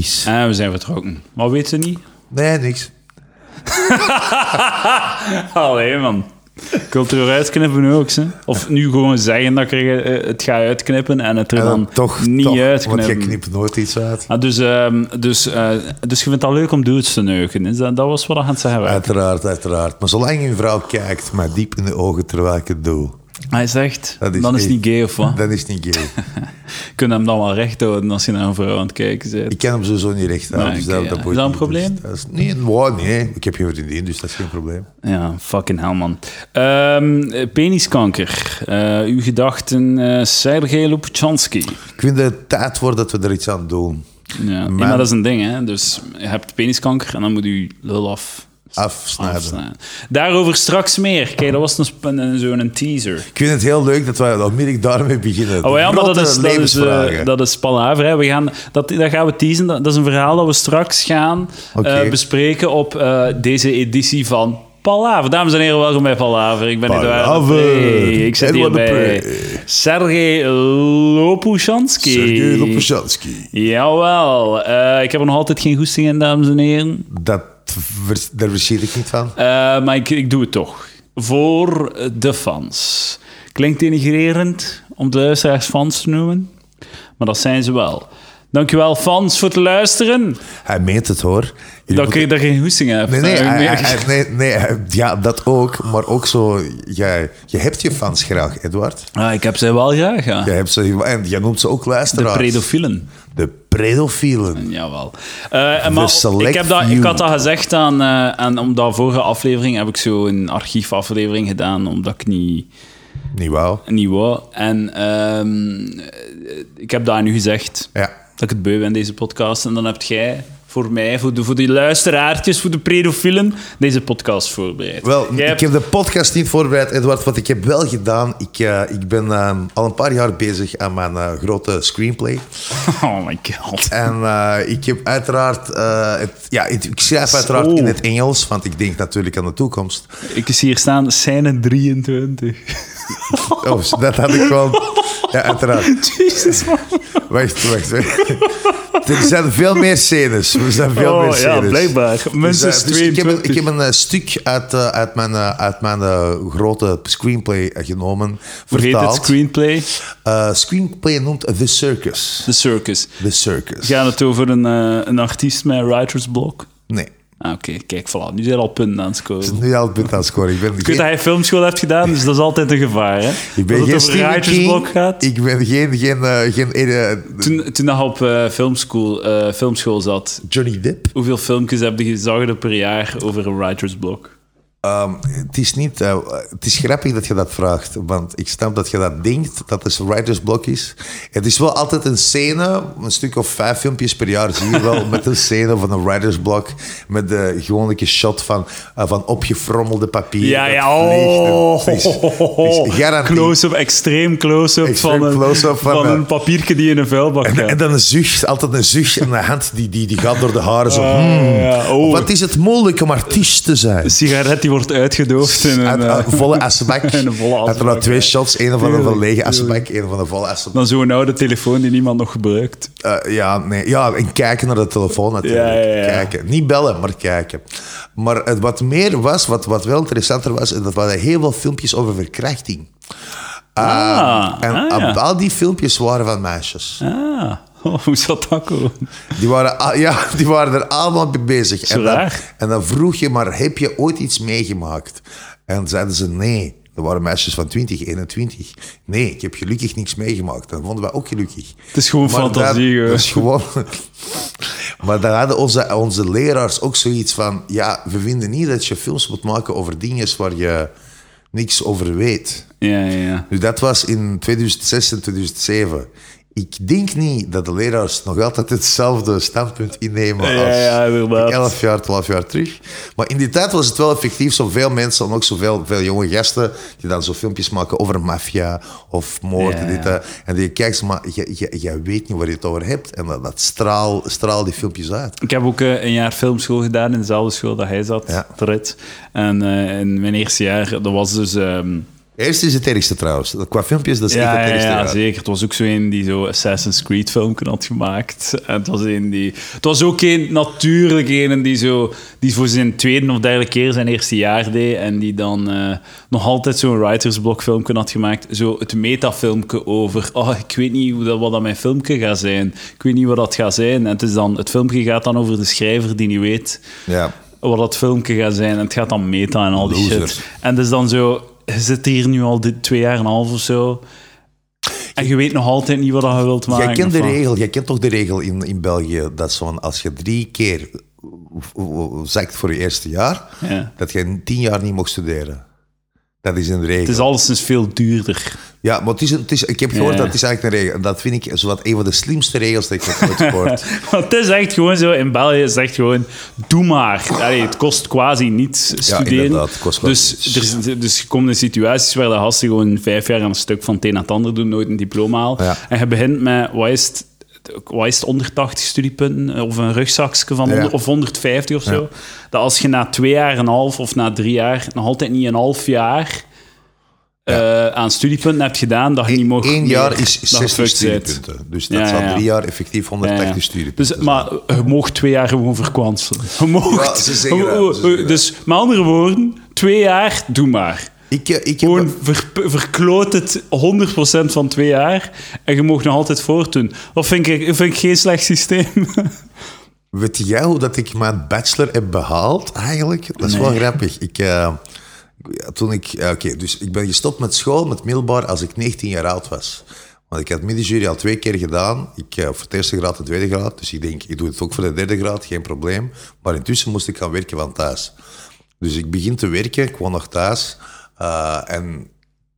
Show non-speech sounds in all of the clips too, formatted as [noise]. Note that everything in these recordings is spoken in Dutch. Niks. En Ah, we zijn vertrokken. Wat weet ze niet? Nee, niks. Allee, man. Cultuur uitknippen nu ook, ze. Of nu gewoon zeggen dat ik er, eh, het ga uitknippen en het er En dan, dan toch niet toch, Want je uitknippen. knipt nooit iets uit. Ah, dus, ehm, dus, eh, dus je vindt het leuk om dudes te neuken. Is dat, dat was wat je aan het zeggen was. Uiteraard, uiteraard. Maar zolang je een vrouw kijkt, maar diep in de ogen terwijl ik het doe, Hij zegt, Dat is dan is het niet- niet gay of wat? dan is het niet gay. Je kunt hem dan wel recht houden als je naar een vrouw aan het kijken bent. Ik ken hem sowieso niet recht aan. Nee, dus oké, dat, ja. dat Is boeit dat een niet. Dus probleem? dat is- nee, wow, nee, ik heb geen vriendin, dus dat is geen probleem. Ja, fucking hell, man. Ehm, eh, peniskanker. Eh, uw gedachten, eh Sergej Lupchansky. Ik vind het tijd wordt dat we er iets aan doen. Ja, nee, maar dat is een ding, hè. Dus je hebt peniskanker en dan moet je lul af... Afsnijden. afsnijden. Daarover straks meer. Kijk, dat was een sp- een, een- zo'n teaser. Ik vind het heel leuk dat we onmiddellijk daarmee beginnen. Oh ja, maar dat Grote is, dat is, eh, levensvragen. dat is palaver. Hè. We gaan, dat, dat gaan we teasen. Dat, dat is een verhaal dat we straks gaan Oké. eh, bespreken op eh, deze editie van Palaver. Dames en heren, welkom bij Palaver. Ik ben Eduard de Palaver. Pre. Ik zit hier Eduard de bij Pre. Sergej Lopushansky. Sergej Lopushansky. Jawel. Eh, ik heb er nog altijd geen goesting in, dames en heren. Dat, vers- daar verschiet ik niet van. Eh, maar ik, ik doe het toch. Voor de fans. Klinkt denigrerend om de luisteraars fans te noemen. Maar dat zijn ze wel. Dankjewel fans voor het luisteren. Hij meent het hoor. Jullie dat ik er geen hoesting heb. Nee, nee, Eh, hij- meer- [laughs] hij- hij- nee, nee hij- ja, dat ook. Maar ook zo, jij, je hebt je fans graag, Edward. Ah, ik heb ze wel graag, ja. Je hebt ze, en jij noemt ze ook De luisteraars. predofielen. De pedofielen. Jawel. Eh, en maar select ik, heb dat, ik few. had dat gezegd aan... eh en om dat vorige aflevering heb ik zo een archiefaflevering gedaan, omdat ik niet... Niet wauw. niet wou. En ehm, ik heb dat aan u gezegd. Ja. dat ik het beu ben deze podcast. En dan hebt jij voor mij, voor, de, voor die luisteraartjes, voor de predofielen, deze podcast voorbereid. Wel, Jij ik hebt- heb de podcast niet voorbereid, Edward. Wat ik heb wel gedaan, ik, eh, ik ben eh, al een paar jaar bezig aan mijn eh, grote screenplay. [laughs] Oh my god. En eh, ik heb uiteraard, eh, het, ja, het- ik schrijf uiteraard Zo. in het Engels, want ik denk natuurlijk aan de toekomst. Ik zie hier staan, scène [laughs] 23. Oh, dat had ik wel. [laughs] Ja, uiteraard. Jezus, man. Wacht, wacht, [laughs] wacht. Er zijn veel meer scènes. Er zijn veel Oh, meer ja, scènes. blijkbaar. dus. Minstens eh, ik, heb, een- 22. ik heb een eh, stuk uit, eh, uit mijn, eh, uit mijn eh, grote screenplay eh, genomen. Vergeet het vertaald. screenplay. Eh, screenplay noemt The Circus. The Circus. The Circus. Gaat het over een, eh, een artiest met een writer's block? Nee. Ah, Oké, kijk, voilà. Nu zijn er al punten aan het scoren. Nu al het aan scoren. Ik ben Ik weet dat geen, hij filmschool heeft gedaan, dus dat is altijd een gevaar. Hè? ik ben dat het geen over Stephen writer's block King. gaat. Ik ben geen... geen, eh, geen eh, Toen, toen hij op eh, filmschool, eh, filmschool zat, Johnny Depp. Hoeveel filmpjes heb je gezagd per jaar over een writer's block? Ehm, het is niet... eh, het is grappig dat je dat vraagt. Want ik snap dat je dat denkt, dat het een writersblok is. Het is wel altijd een scène, een stuk of vijf filmpjes per jaar zie je [laughs] wel, met een scène van een writersblok. Met de gewone shot van, eh, van opgefrommelde papier. Ja, dat ja. vliegt. Oh. Het is- het is garantie. Close-up, extreem close-up Extreem van, een- close-up van, van eh, een papiertje die in een vuilbak En, gaat. en dan een zucht, altijd een zucht. En de hand die, die, die gaat door de haren zo. hmm. Ah, ja, oh. Wat is het moeilijk om artiest te zijn? Een sigaret die wordt uitgedoofd in een... Uit, uit, eh, volle [laughs] asbak. in een volle Had er nou asbak, twee ja. shots. Een van een van Tuurlijk, lege asbak, een van een volle asbak. dan zo'n oude telefoon die niemand nog gebruikt. Eh, ja, nee. ja, en kijken naar de telefoon natuurlijk. Ja, ja, ja. Kijken. Niet bellen, maar kijken. Maar het, wat meer was, wat, wat wel interessanter was, en dat waren heel veel filmpjes over verkrachting. Eh, Ah, en ah, ja. al die filmpjes waren van meisjes. Ah, oh, [laughs] hoe zat dat komen? Die waren, a- ja, die waren er allemaal mee bezig. en, dan, raar. en dan vroeg je maar, heb je ooit iets meegemaakt? En zeiden ze nee. Er waren meisjes van 20, 21. Nee, ik heb gelukkig niks meegemaakt. Dat vonden wij ook gelukkig. Het is gewoon Maar fantasie, [laughs] dat- hè. dat is gewoon... maar dan hadden onze, onze leraars ook zoiets van... Ja, we vinden niet dat je films moet maken over dingen waar je niks over weet. Ja, ja, ja. Dus dat was in 2006 en 2007. Ik denk niet dat de leraars nog altijd hetzelfde standpunt innemen Ja, als ja, inderdaad. 11 jaar, 12 jaar terug. Maar in die tijd was het wel effectief. Zoveel mensen en ook zoveel veel jonge gasten die dan zo filmpjes maken over maffia of moord. Ja, en dit, ja. dat. En die kijkt, maar je, je, je weet niet waar je het over hebt. En dat, dat straal, straal die filmpjes uit. Ik heb ook eh, een jaar filmschool gedaan in dezelfde school dat hij zat, Ja. de Rit. En eh, in mijn eerste jaar, dat was dus ehm, Eerst is het ergste trouwens. Qua filmpjes, dat is echt Ja, het ja, ergste. ja, ja. zeker. Het was ook zo een die zo Assassin's Creed filmpje had gemaakt. En het was een die... Het was ook een, natuurlijk een die zo... Die voor zijn tweede of derde keer zijn eerste jaar deed. En die dan eh, nog altijd zo'n writersblok filmpje had gemaakt. Zo het metafilmpje over... Oh, ik weet niet hoe dat, wat dat mijn filmpje gaat zijn. Ik weet niet wat dat gaat zijn. En het, is dan, het filmpje gaat dan over de schrijver die niet weet Ja. wat dat filmpje gaat zijn. En het gaat dan meta en al die Losers. shit. En dus dan zo, je zit hier nu al dit twee jaar en een half of zo. En je weet nog altijd niet wat dat je wilt maken. Jij kent de of wat. regel, jij kent toch de regel in, in België dat zo'n als je drie keer eh, zakt voor je eerste jaar, Ja. dat je tien jaar niet mocht studeren. Dat is een Het regel. is alleszins veel duurder. Ja, maar het is, een- het is, ik heb gehoord Ja. dat het is eigenlijk een regel. Dat vind ik zowat een van de slimste regels die ik heb ooit [laughs] gehoord. Want het is echt gewoon zo, in België is het echt gewoon, doe maar. Allee, het kost quasi niets studeren. inderdaad, het kost quasi dus, er, is- dus je komt in situaties waar de gasten gewoon vijf jaar aan een stuk van het een naar het ander doen, nooit een diploma halen. Ja. En je begint met, wat is het, wat is het, 180 studiepunten of een rugzakje van Ja. 100 of 150 of zo. Dat als je na twee jaar en een half of na drie jaar nog altijd niet een half jaar eh, aan studiepunten hebt gedaan, dat je niet mocht... Eén meer- E- jaar is dat je 60 fucked bent. studiepunten. Dus dat Ja, zal ja, ja. drie jaar effectief 180 Ja, ja. studiepunten Dus, maar je mocht twee jaar gewoon verkwanselen. Je mocht. Ja, ze zeggen dat, ze zeggen dat. dus met andere woorden, twee jaar, doe maar. Ik, eh, ik heb Dus Gewoon ver- verkloot het 100% van twee jaar en je mocht nog altijd voortdoen. Dat vind ik, vind ik geen slecht [laughs] systeem. Weet jij hoe dat ik mijn bachelor heb behaald eigenlijk? Dat is wel Nee. grappig. Ik, eh, ja, toen ik, ja, oké, dus ik ben gestopt met school, met middelbaar, als ik 19 jaar oud was. Want ik had middenjury al twee keer gedaan. Ik, eh, voor de eerste graad en tweede graad. Dus ik denk, ik doe het ook voor de derde graad, geen probleem. Maar intussen moest ik gaan werken van thuis. Dus ik begin te werken, ik woon nog thuis. Eh, en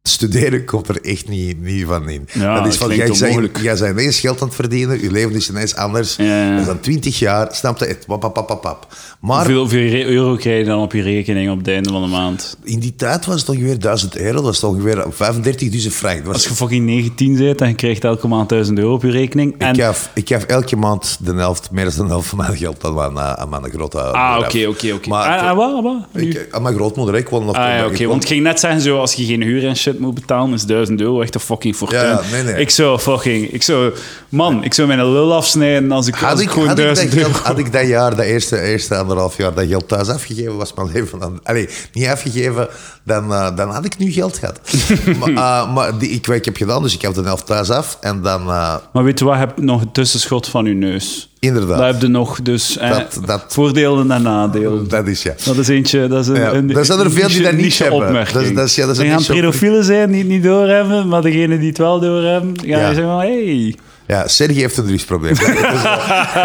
studeren komt er echt niet, niet van in. Ja, dat is dat van, klinkt jij zei, onmogelijk. jij zei ineens geld aan het verdienen, je leven is ineens anders. ja. Dat is dan 20 jaar, snapte het, pap, pap, pap, pap, pap. Maar Hoeveel, hoeveel re- euro krijg je dan op je rekening op het einde van de maand? in die tijd was het ongeveer 1000 euro, dat was het ongeveer 35.000 frank. Dat was- Als je fucking 19 bent en je krijgt elke maand 1000 euro op je rekening. En, ik, gaf, ik gaf elke maand de helft, meer dan de helft van mijn geld aan mijn, eh, aan mijn grootouders. ah, oké, oké, oké. Maar Ah, ah, wat, ah, wat? Nu? ik, aan mijn grootmoeder, ik woon nog... Ah, ja, ik oké. woon- Want ik ging net zeggen, zo, als je geen huur en shit moet betalen, is 1000 euro echt een fucking fortuin. Ja, nee, nee. Ik zou fucking... Ik zou... Man, ik zou mijn lul afsnijden als ik, Had als ik ik, gewoon had, ik dat 1000 euro... geld, had ik dat jaar, dat eerste, eerste anderhalf jaar, dat geld thuis afgegeven, was mijn leven aan... Allee, niet afgegeven, dan, eh, dan had ik nu geld gehad. [laughs] maar eh, maar die, ik, wat ik heb gedaan, dus ik heb de helft thuis af. En dan, eh, Maar weet je wat? Je hebt nog een tussenschot van je neus. inderdaad, Dat heb je nog, dus... eh, Dat- dat- Voordelen en nadelen. dat is ja. Dat is eentje... Dat is een, Ja, een, er zijn er veel die niche- dat niet niche hebben. opmerking. Dat is- dat is- ja, dat is er een gaan niche pedofielen zijn die het niet doorhebben, maar degenen die het wel doorhebben, gaan Ja. zeggen van... Hey. Ja, Sergi heeft [laughs] een drugsprobleem. Je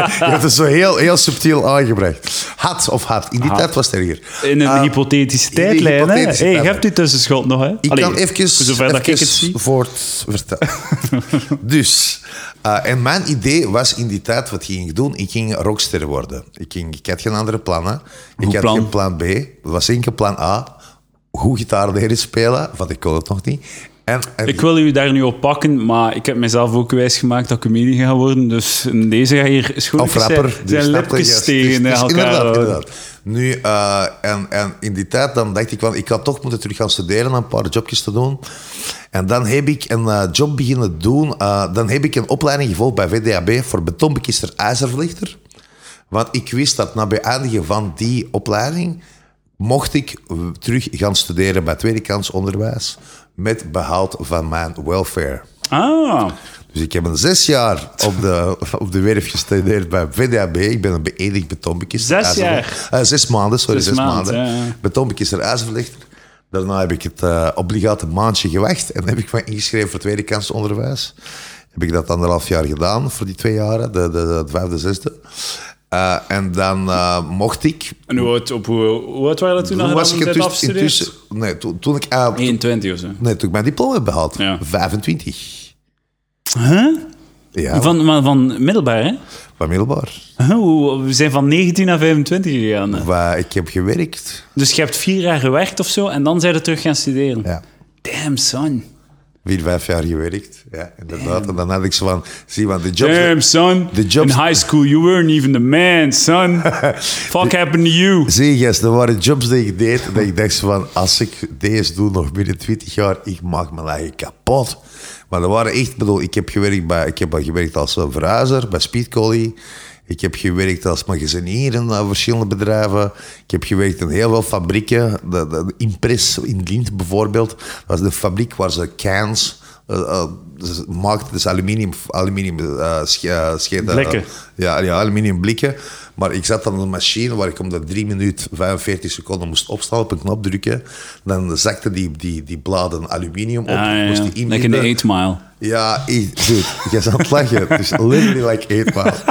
hebt het zo heel, heel subtiel aangebracht. Had of had. In die tijd was het erger. In een Eh, hypothetische in de tijdlijn, hè? hypothetische Hey, je tijdlijn. hebt die tussenschot nog, hè? Ik kan even, Zover dat ik even het zie. voort [laughs] vertellen. dus, eh, en mijn idee was in die tijd, wat ging ik doen? Ik ging rockster worden. Ik, ging, ik had geen andere plannen. Ik Goed had plan. geen plan B. Er was enkel plan A. Goed gitaar leren spelen, want ik kon het nog niet. En, en Ik wil u daar nu op pakken, maar ik heb mezelf ook wijsgemaakt dat ik comedian ga worden. Dus in deze ga je hier schoenen Of rapper. zijn, dus zijn snap je, lipjes yes. Dus- tegen dus elkaar inderdaad, houden. inderdaad. Nu, eh, en, en in die tijd dan dacht ik, want ik had toch moeten terug gaan studeren en een paar jobjes te doen. En dan heb ik een eh, job beginnen doen. eh, dan heb ik een opleiding gevolgd bij VDAB voor betonbekister ijzervlichter. Want ik wist dat na beëindigen van die opleiding mocht ik eh, terug gaan studeren bij tweede kans onderwijs met behoud van mijn welfare. Ah, Dus ik heb een zes jaar op de, [laughs] op de werf gestudeerd bij VDAB. Ik ben een beëdigd betonbekister. Zes jaar? ijzerverlichter. Eh, zes maanden, sorry, Zes zes, maanden, maanden. ja, ja. Betonbekister, ijzerverlichter. Daarna heb ik het eh, obligate maandje gewacht en heb ik me ingeschreven voor tweede kans onderwijs. Heb ik dat anderhalf jaar gedaan voor die twee jaren, de, de, de vijfde, zesde. Eh, en dan eh, mocht ik. en hoe oud, op hoe, hoe oud waren dat toen? Toen dat was je ik dan bent intussen. afgestudeerd? intussen nee, toen, toen ik, eh, 21 of zo. nee, toen ik mijn diploma heb behaald, Ja. 25. Huh? Ja, van, Van, maar van middelbaar, hè? middelbaar. Huh, hoe- We zijn van 19 naar 25 gegaan. hè? Waar ik heb gewerkt. Dus je hebt vier jaar gewerkt of zo en dan zijn we terug gaan studeren. Ja. Damn, son. vier, vijf jaar gewerkt. Ja, inderdaad. En dan had ik zo van, zie, want de jobs... Damn, son. de jobs- In high school, you weren't even the man, [laughs] son. Fuck happened to you. Zie je, er waren jobs die ik deed. En ik dacht zo van, als ik deze doe nog binnen 20 jaar, ik maak mijn eigen kapot. Maar dat waren echt, bedoel, ik heb gewerkt, bij, ik heb al gewerkt als eh, verhuizer bij Speedcollie. Ik heb gewerkt als magazinier in eh, verschillende bedrijven. Ik heb gewerkt in heel veel fabrieken. De, de Impress in Lint bijvoorbeeld, dat was de fabriek waar ze cans eh, eh, ze maakten. Dus aluminium, aluminium eh, sch- eh, scheten. Blikken. Ja, ja, aluminium blikken. Maar ik zat aan de machine waar ik om de 3 minuten 45 seconden moest opstaan, op een knop drukken. Dan zakte die, die, die bladen aluminium op. Ah, ja, moest ja. die Like in the inbinden. 8 mile. Ja, ik, dude, jij is aan het lachen. Het is literally like eet maar.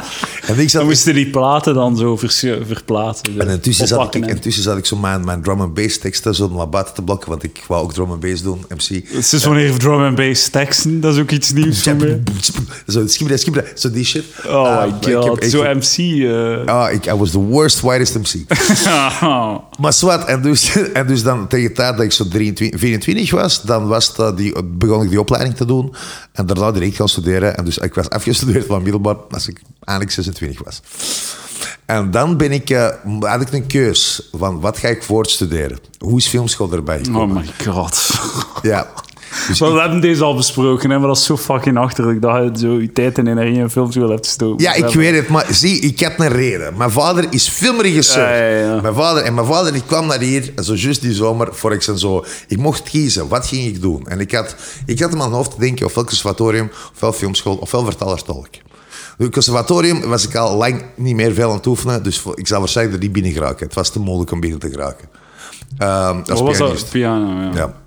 En ik Dan zat... moesten die platen dan zo vers- verplaatsen. zo. En intussen, zat ik, Oppakken en- intussen zat ik zo mijn, mijn drum and bass teksten zo naar buiten te blokken, want ik wou ook drum and bass doen, MC. Het is wanneer drum and bass teksten, dat is ook iets nieuws voor mij. Zo, skibra, skibra, zo die shit. Oh Ah, my ik heb god, echt- zo MC. eh. Ah, ik, I was the worst, whitest MC. Maar zwart, en dus, [laughs] en dus dan tegen de tijd dat ik zo 23, 24 was, dan was dat die, begon ik die opleiding te doen. En daarna direct gaan studeren. En dus ik was afgestudeerd van middelbaar als ik eigenlijk 26 was. En dan ben ik, eh, had ik een keus van wat ga ik voortstuderen? Hoe is filmschool erbij [laughs] gekomen? Oh my god. [laughs] Ja. Dus Maar ik- we hebben deze al besproken, hè, maar dat is zo fucking achterlijk dat je zo je tijd en energie in films wil hebt gestoken. ja, ik weet het, maar zie, ik heb een reden. Mijn vader is filmregisseur. Ja, ja, ja. Mijn vader, en mijn vader die kwam naar hier, zo juist die zomer, voor ik zijn zo. Ik mocht kiezen, wat ging ik doen? En ik had, ik had in mijn hoofd te denken, ofwel conservatorium, ofwel filmschool, ofwel vertalerstolk. Nu, conservatorium was ik al lang niet meer veel aan het oefenen, dus voor- ik zou waarschijnlijk er niet binnen geraken. Het was te moeilijk om binnen te geraken. Ehm Wat als was pianist. dat? Piano, ja. Ja.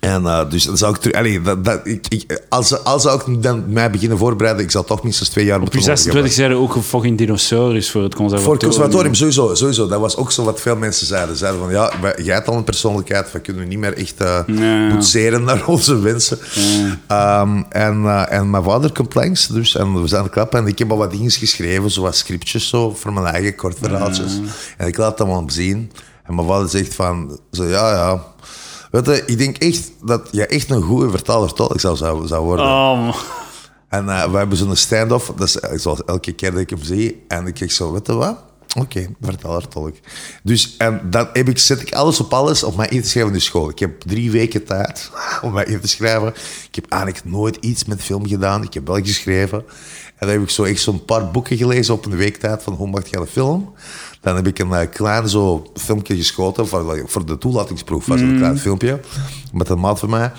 En eh, dus dan zou ik terug. allee, dat, dat, ik, ik, als, als zou ik dan mij beginnen voorbereiden, ik zal toch minstens twee jaar Op je 26 zijn er ook een fucking dinosaurus voor het Voor conservatorium. het conservatorium sowieso, sowieso. Dat was ook zo wat veel mensen zeiden. Zeiden van ja, wij- jij hebt al een persoonlijkheid, we kunnen niet meer echt eh Nee. boetseren naar onze wensen. Ehm, en, eh, en mijn vader komt langs, dus en we zijn aan het klappen. En ik heb al wat dingen geschreven, zo wat scriptjes zo, voor mijn eigen korte verhaaltjes. En ik laat dat allemaal zien. En mijn vader zegt van, zo ja, ja. Weet je, ik denk echt dat jij echt een goede vertaler tolk zou, zou, zou worden. Oh, man. En eh, we hebben zo'n stand-off, dat is eh, zoals elke keer dat ik hem zie. En ik kijk zo, weet je wat? Oké, vertel haar tolk. Dus en dan heb ik, zet ik alles op alles om mij in te schrijven in de school. Ik heb drie weken tijd [laughs] om mij in te schrijven. Ik heb eigenlijk nooit iets met film gedaan. Ik heb wel geschreven. En dan heb ik zo echt zo'n paar boeken gelezen op een week tijd van hoe mag je een film. Dan heb ik een eh, klein zo filmpje geschoten voor, voor de toelatingsproef. was een klein filmpje met een maat van mij.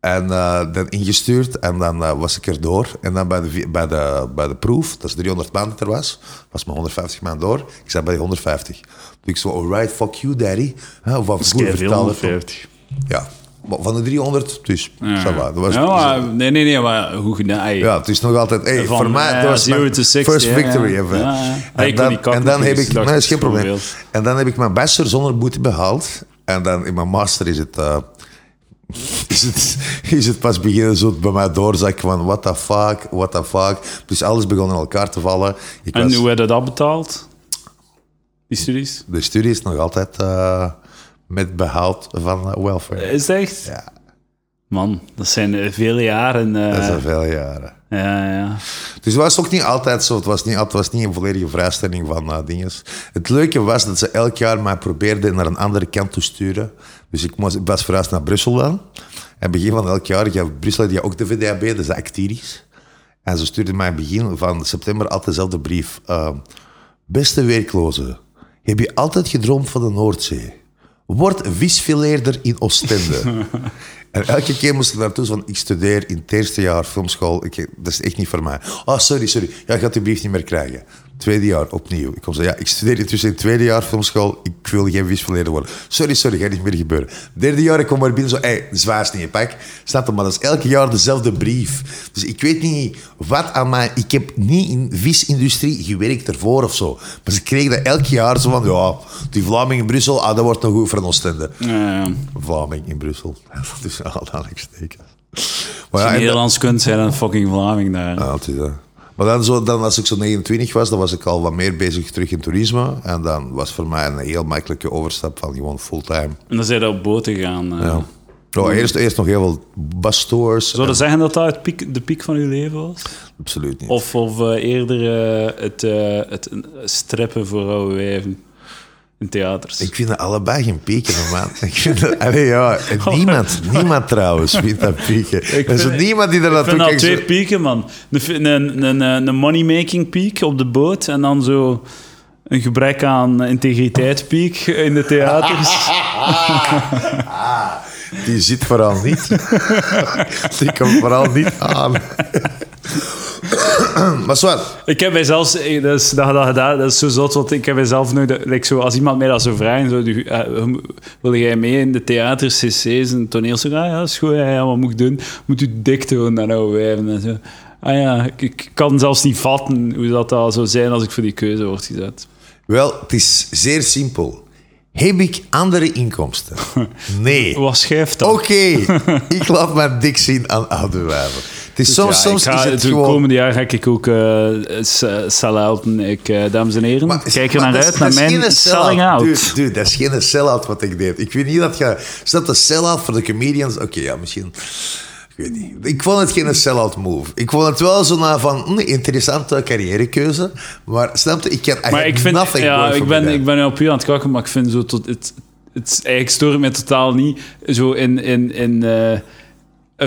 En eh, dan ingestuurd en dan eh, was ik er door. En dan bij de, vi- bij de, bij de proef, dat is 300 man dat er was, was maar 150 man door. Ik zat bij die 150. Toen ik zo, alright, fuck you daddy. Hè, of wat goed vertelde. Ja, maar van de 300, dus, ja. dat was Ja, maar- nee, nee, nee, maar hoe gedaan? ey. ja, het is nog altijd. Hey, Van, voor mij eh, dat was zero mijn to 60, first ja, victory ja. even. Ja, ja. En, Ik wil dan, die kak en dan nog heb eens ik. straks Nee, is geen probleem. bijvoorbeeld. En dan heb ik mijn bachelor zonder boete behaald. En dan in mijn master is het. eh, [laughs] is het, is het pas beginnen zo bij mij doorzak van what the fuck, what the fuck. Dus alles begon in elkaar te vallen. Ik En was- hoe werd dat afbetaald? Die studies? de studie is nog altijd eh, met behoud van eh, welfare. Is het echt? Ja. Man, dat zijn eh, vele jaren. eh, Dat is al veel jaren. ja, ja. Dus het was ook niet altijd zo. Het was niet, het was niet een volledige vrijstelling van eh dingen. Het leuke was dat ze elk jaar mij probeerden naar een andere kant te sturen. Dus ik moest, ik was verhuisd naar Brussel dan. En begin van elk jaar, ja, Brussel had ja ook de VDAB, dat is dus de Actiris. En ze stuurden mij begin van september altijd dezelfde brief. Eh, beste werkloze, heb je altijd gedroomd van de Noordzee? Word visfileerder in Oostende. En elke keer moest ik naartoe van, ik studeer in het eerste jaar filmschool. Ik, dat is echt niet voor mij. Oh, sorry, sorry. Ja, ik gaat die brief niet meer krijgen. Tweede jaar, opnieuw. Ik kom zo, ja, ik studeer intussen in het tweede jaar filmschool. Ik wil geen visverleden worden. Sorry, sorry, gaat niet meer gebeuren. Derde jaar, ik kom maar binnen zo, hé, hey, zwaarst in je pak. Snap je, maar dat is elke jaar dezelfde brief. Dus ik weet niet wat aan mij... Ik heb niet in visindustrie gewerkt ervoor of zo. Maar ze kregen dat elk jaar zo van, ja, die Vlaming in Brussel, ah, dat wordt nog goed voor een Oostende. Ja, ja. Vlaming in Brussel. [laughs] Dat is al steken. Maar Als ja, je Ah, en dan, Nederlands kunt zijn een fucking Vlaming daar. ja, het is, eh. maar dan, zo, dan als ik zo 29 was, dan was ik al wat meer bezig terug in toerisme. En dan was voor mij een heel makkelijke overstap van gewoon fulltime. En dan zijn we op boten gaan. eh. Ja. Bro, eerst, eerst nog heel veel basstores. Zou je zeggen dat dat het piek, de piek van uw leven was? Absoluut niet. Of, of eh, eerder eh, het, eh, het strippen voor oude wijven in theaters? Ik vind dat allebei geen pieken, man. ik vind dat, allee, [laughs] ja, niemand, niemand trouwens vindt dat pieken. Er is vind- niemand die er Ik naartoe vind dat kijkt. twee pieken, man. Een fi- Een, een, een, eh, een money-making piek op de boot en dan zo een gebrek aan integriteit piek in de [laughs] theaters. Die zit vooral niet. Die komt vooral niet aan. maar zwart. ik heb mijzelf, eh, dat is, dat, je dat, gedaan, dat is zo zot, want ik heb mijzelf nu, dat, like zo, als iemand mij dat zou vragen, zo, die- eh, hoe- wil jij mee in de theaters, cc's en toneels? Ah ja, dat is goed, ja, ja, wat moet ik doen? Moet u dik doen naar oude wijven en zo. Ah ja, ik, ik kan zelfs niet vatten hoe dat, dat zou zijn als ik voor die keuze word gezet. Wel, het is zeer simpel. Heb ik andere inkomsten? Nee. Wat schrijft dat? Oké, ik laat maar dik zien aan oude wijven. Het is soms, Dus Ja, soms ik ga- is het de gewoon... komende jaar ga ik ook eh s- eh, sell helpen. Ik, eh, dames en heren, Maar- kijk er maar naar dat uit, is- naar dat is geen mijn selling sell-out. out. Dude, dude, dat is geen sell-out wat ik deed. Ik weet niet dat je... Is dat een sell-out voor de comedians? Oké, ja, misschien... Ik weet niet. Ik vond het geen sell-out move. Ik vond het wel zo na van... hm, interessante carrièrekeuze. Maar snap je? Ik kan Maar ik vind, nothing ja, going ik for ben, me ik there. ben nu op u aan het kakken, maar ik vind zo tot het, het eigenlijk stoor het mij totaal niet zo in, in, in eh,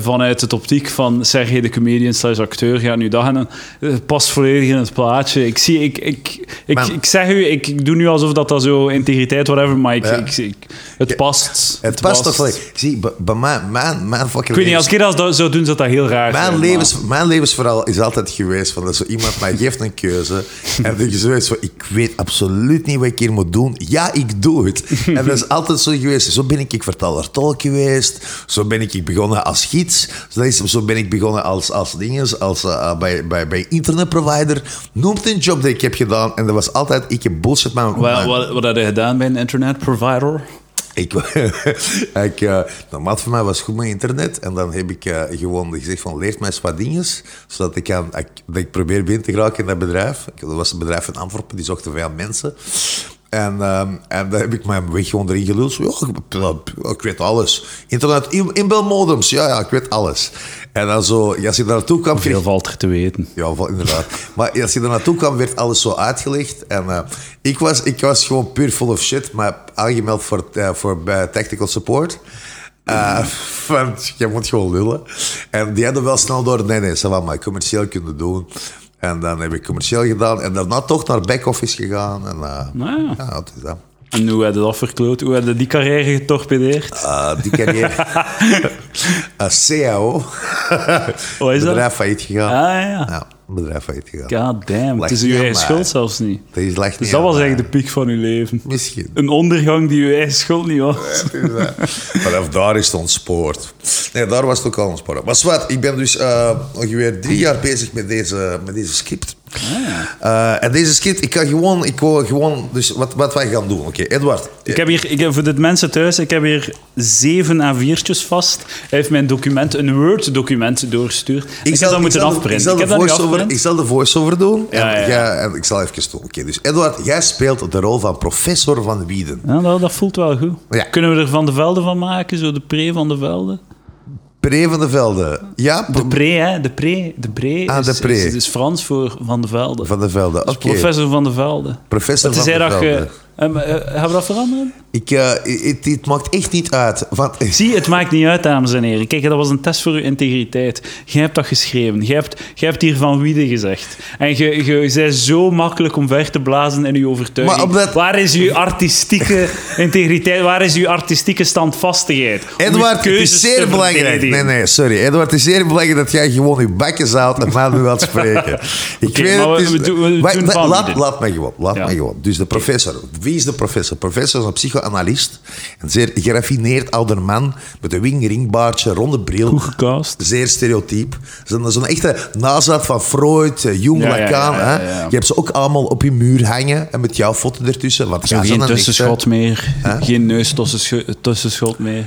vanuit het optiek van Sergej de comedian slash acteur gaat nu dag en dan eh, past volledig in het plaatje. Ik zie, ik, ik, ik, Maar- ik zeg u, ik, ik doe nu alsof dat dat zo integriteit whatever, maar ik, Ja. ik, ik- het past. Het past toch wel. Zie, bij- bij mij... Mijn, mijn fucking Ik weet niet, levens- als ik dat zou- zou doen, zou dat heel raar zijn. Mijn, maar- levens, mijn levensverhaal is altijd geweest van dat zo iemand mij geeft een keuze. En dat je zoiets van, ik weet absoluut niet wat ik hier moet doen. Ja, ik doe het. En dat is altijd zo geweest. Zo ben ik, ik vertaler tolk geweest. Zo ben ik, ik begonnen als gids. Zo is- Zo ben ik begonnen als, als dinges, als, eh, bij, bij, bij internetprovider. Noemt een job die ik heb gedaan. En dat was altijd, ik heb bullshit maar Wat, wat, wat had je gedaan bij een internet provider? ik, [laughs] ik, eh, normaal voor mij was het goed met internet. En dan heb ik eh, gewoon gezegd van leert mij eens wat dinges. Zodat ik, kan, ik, dat ik probeer binnen te geraken in dat bedrijf. Ik- Dat was een bedrijf in Antwerpen, die zochten veel mensen. En, ehm, en daar heb ik mijn weg gewoon erin geluld. Zo, ja, ik, ik weet alles. Internet, in- inbelmodems, ja, ja, ik weet alles. En dan zo, als je daar naartoe kwam, kreeg Veel valt er te weten. ja, wel, inderdaad. [laughs] maar als je er naartoe kwam, werd alles zo uitgelegd. En eh, ik, was, ik was gewoon puur full of shit, maar aangemeld voor, eh, voor bij technical support. Eh, [laughs] want je moet gewoon lullen. En die hadden wel snel door, nee, nee, ze wat maar commercieel kunnen doen. En dan heb ik commercieel gedaan en daarna toch naar back-office gegaan. En, eh, Nou ja. ja, het is dat. En hoe had je dat verkloot? Hoe had je die carrière getorpedeerd? Eh, die [laughs] carrière. Eh, CAO. Wat is dat? bedrijf failliet gegaan. Ah ja. Ja, bedrijf failliet gegaan. God damn. Het is Lag niet uw aan eigen mij. schuld zelfs niet. Dat is lag Dus niet dat aan was mij. eigenlijk de piek van uw leven. [laughs] Misschien. Een ondergang die uw eigen schuld niet was. Vanaf daar is het ontspoord. Nee, daar was het ook al ontspoord. Maar zwart, ik ben dus eh, ongeveer drie jaar bezig met deze, met deze script. Ah. Eh, en deze script, ik ga gewoon, ik wil gewoon dus wat, wat wij gaan doen. Oké, Edward. Ik heb hier, ik heb, voor de mensen thuis, ik heb hier zeven A4'tjes vast. Hij heeft mijn document, een Word-document, doorgestuurd. Ik, heb dat moeten zal de- afprinten. Ik zal, ik de heb dat nu voice-over, afgeprint. ik zal de voice-over doen. En, Ja, ja, ja. jij- en ik zal even doen. Oké, dus Edward, jij speelt de rol van professor van Wieden. Ja, dat, dat voelt wel goed. Ja. Kunnen we er Van de Velde van maken? Zo de pre Van de Velde? Pre van de Velde. Ja, De pre, hè? De pre. De pre, Ah, is, de pre. Is, is Frans voor Van de Velde. van de Velde. Oké, Professor Van de Velde. professor Het van is hij de dat Velde. je... Eh, maar, eh, Gaan we dat veranderen? Ik, eh, het, het maakt echt niet uit. Want, Zie, het maakt niet uit, dames en heren. Kijk, dat was een test voor uw integriteit. Jij hebt dat geschreven. Jij hebt, jij hebt hier van Wiede gezegd. En je, je bent zo makkelijk om ver te blazen in uw overtuiging. Maar omdat- Waar is uw [laughs] artistieke integriteit? Waar is uw artistieke standvastigheid? Om uw Edward, het keuzes is zeer te belangrijk. verdedigen. Nee, nee, sorry. Edward, het is zeer belangrijk dat jij gewoon je bakjes houdt en mij nu laat [laughs] spreken. Ik Oké, maar we- we doen- we Wacht, doen la- van laat, dit. laat mij gewoon. Laat Ja. mij gewoon. Dus de professor. Wie is de professor? Professor is een psychoanalist. Een zeer geraffineerd ouder man met een wingringbaardje, ronde bril. Goed gecast. Zeer stereotyp. Zo'n zo'n echte nazaat van Freud, eh, Jung, Ja, ja, Lacan. ja, ja, Hè? ja. Je hebt ze ook allemaal op je muur hangen en met jouw foto ertussen. Want ja, Geen zo'n echte- tussenschot meer. Geen neus tussenschot meer.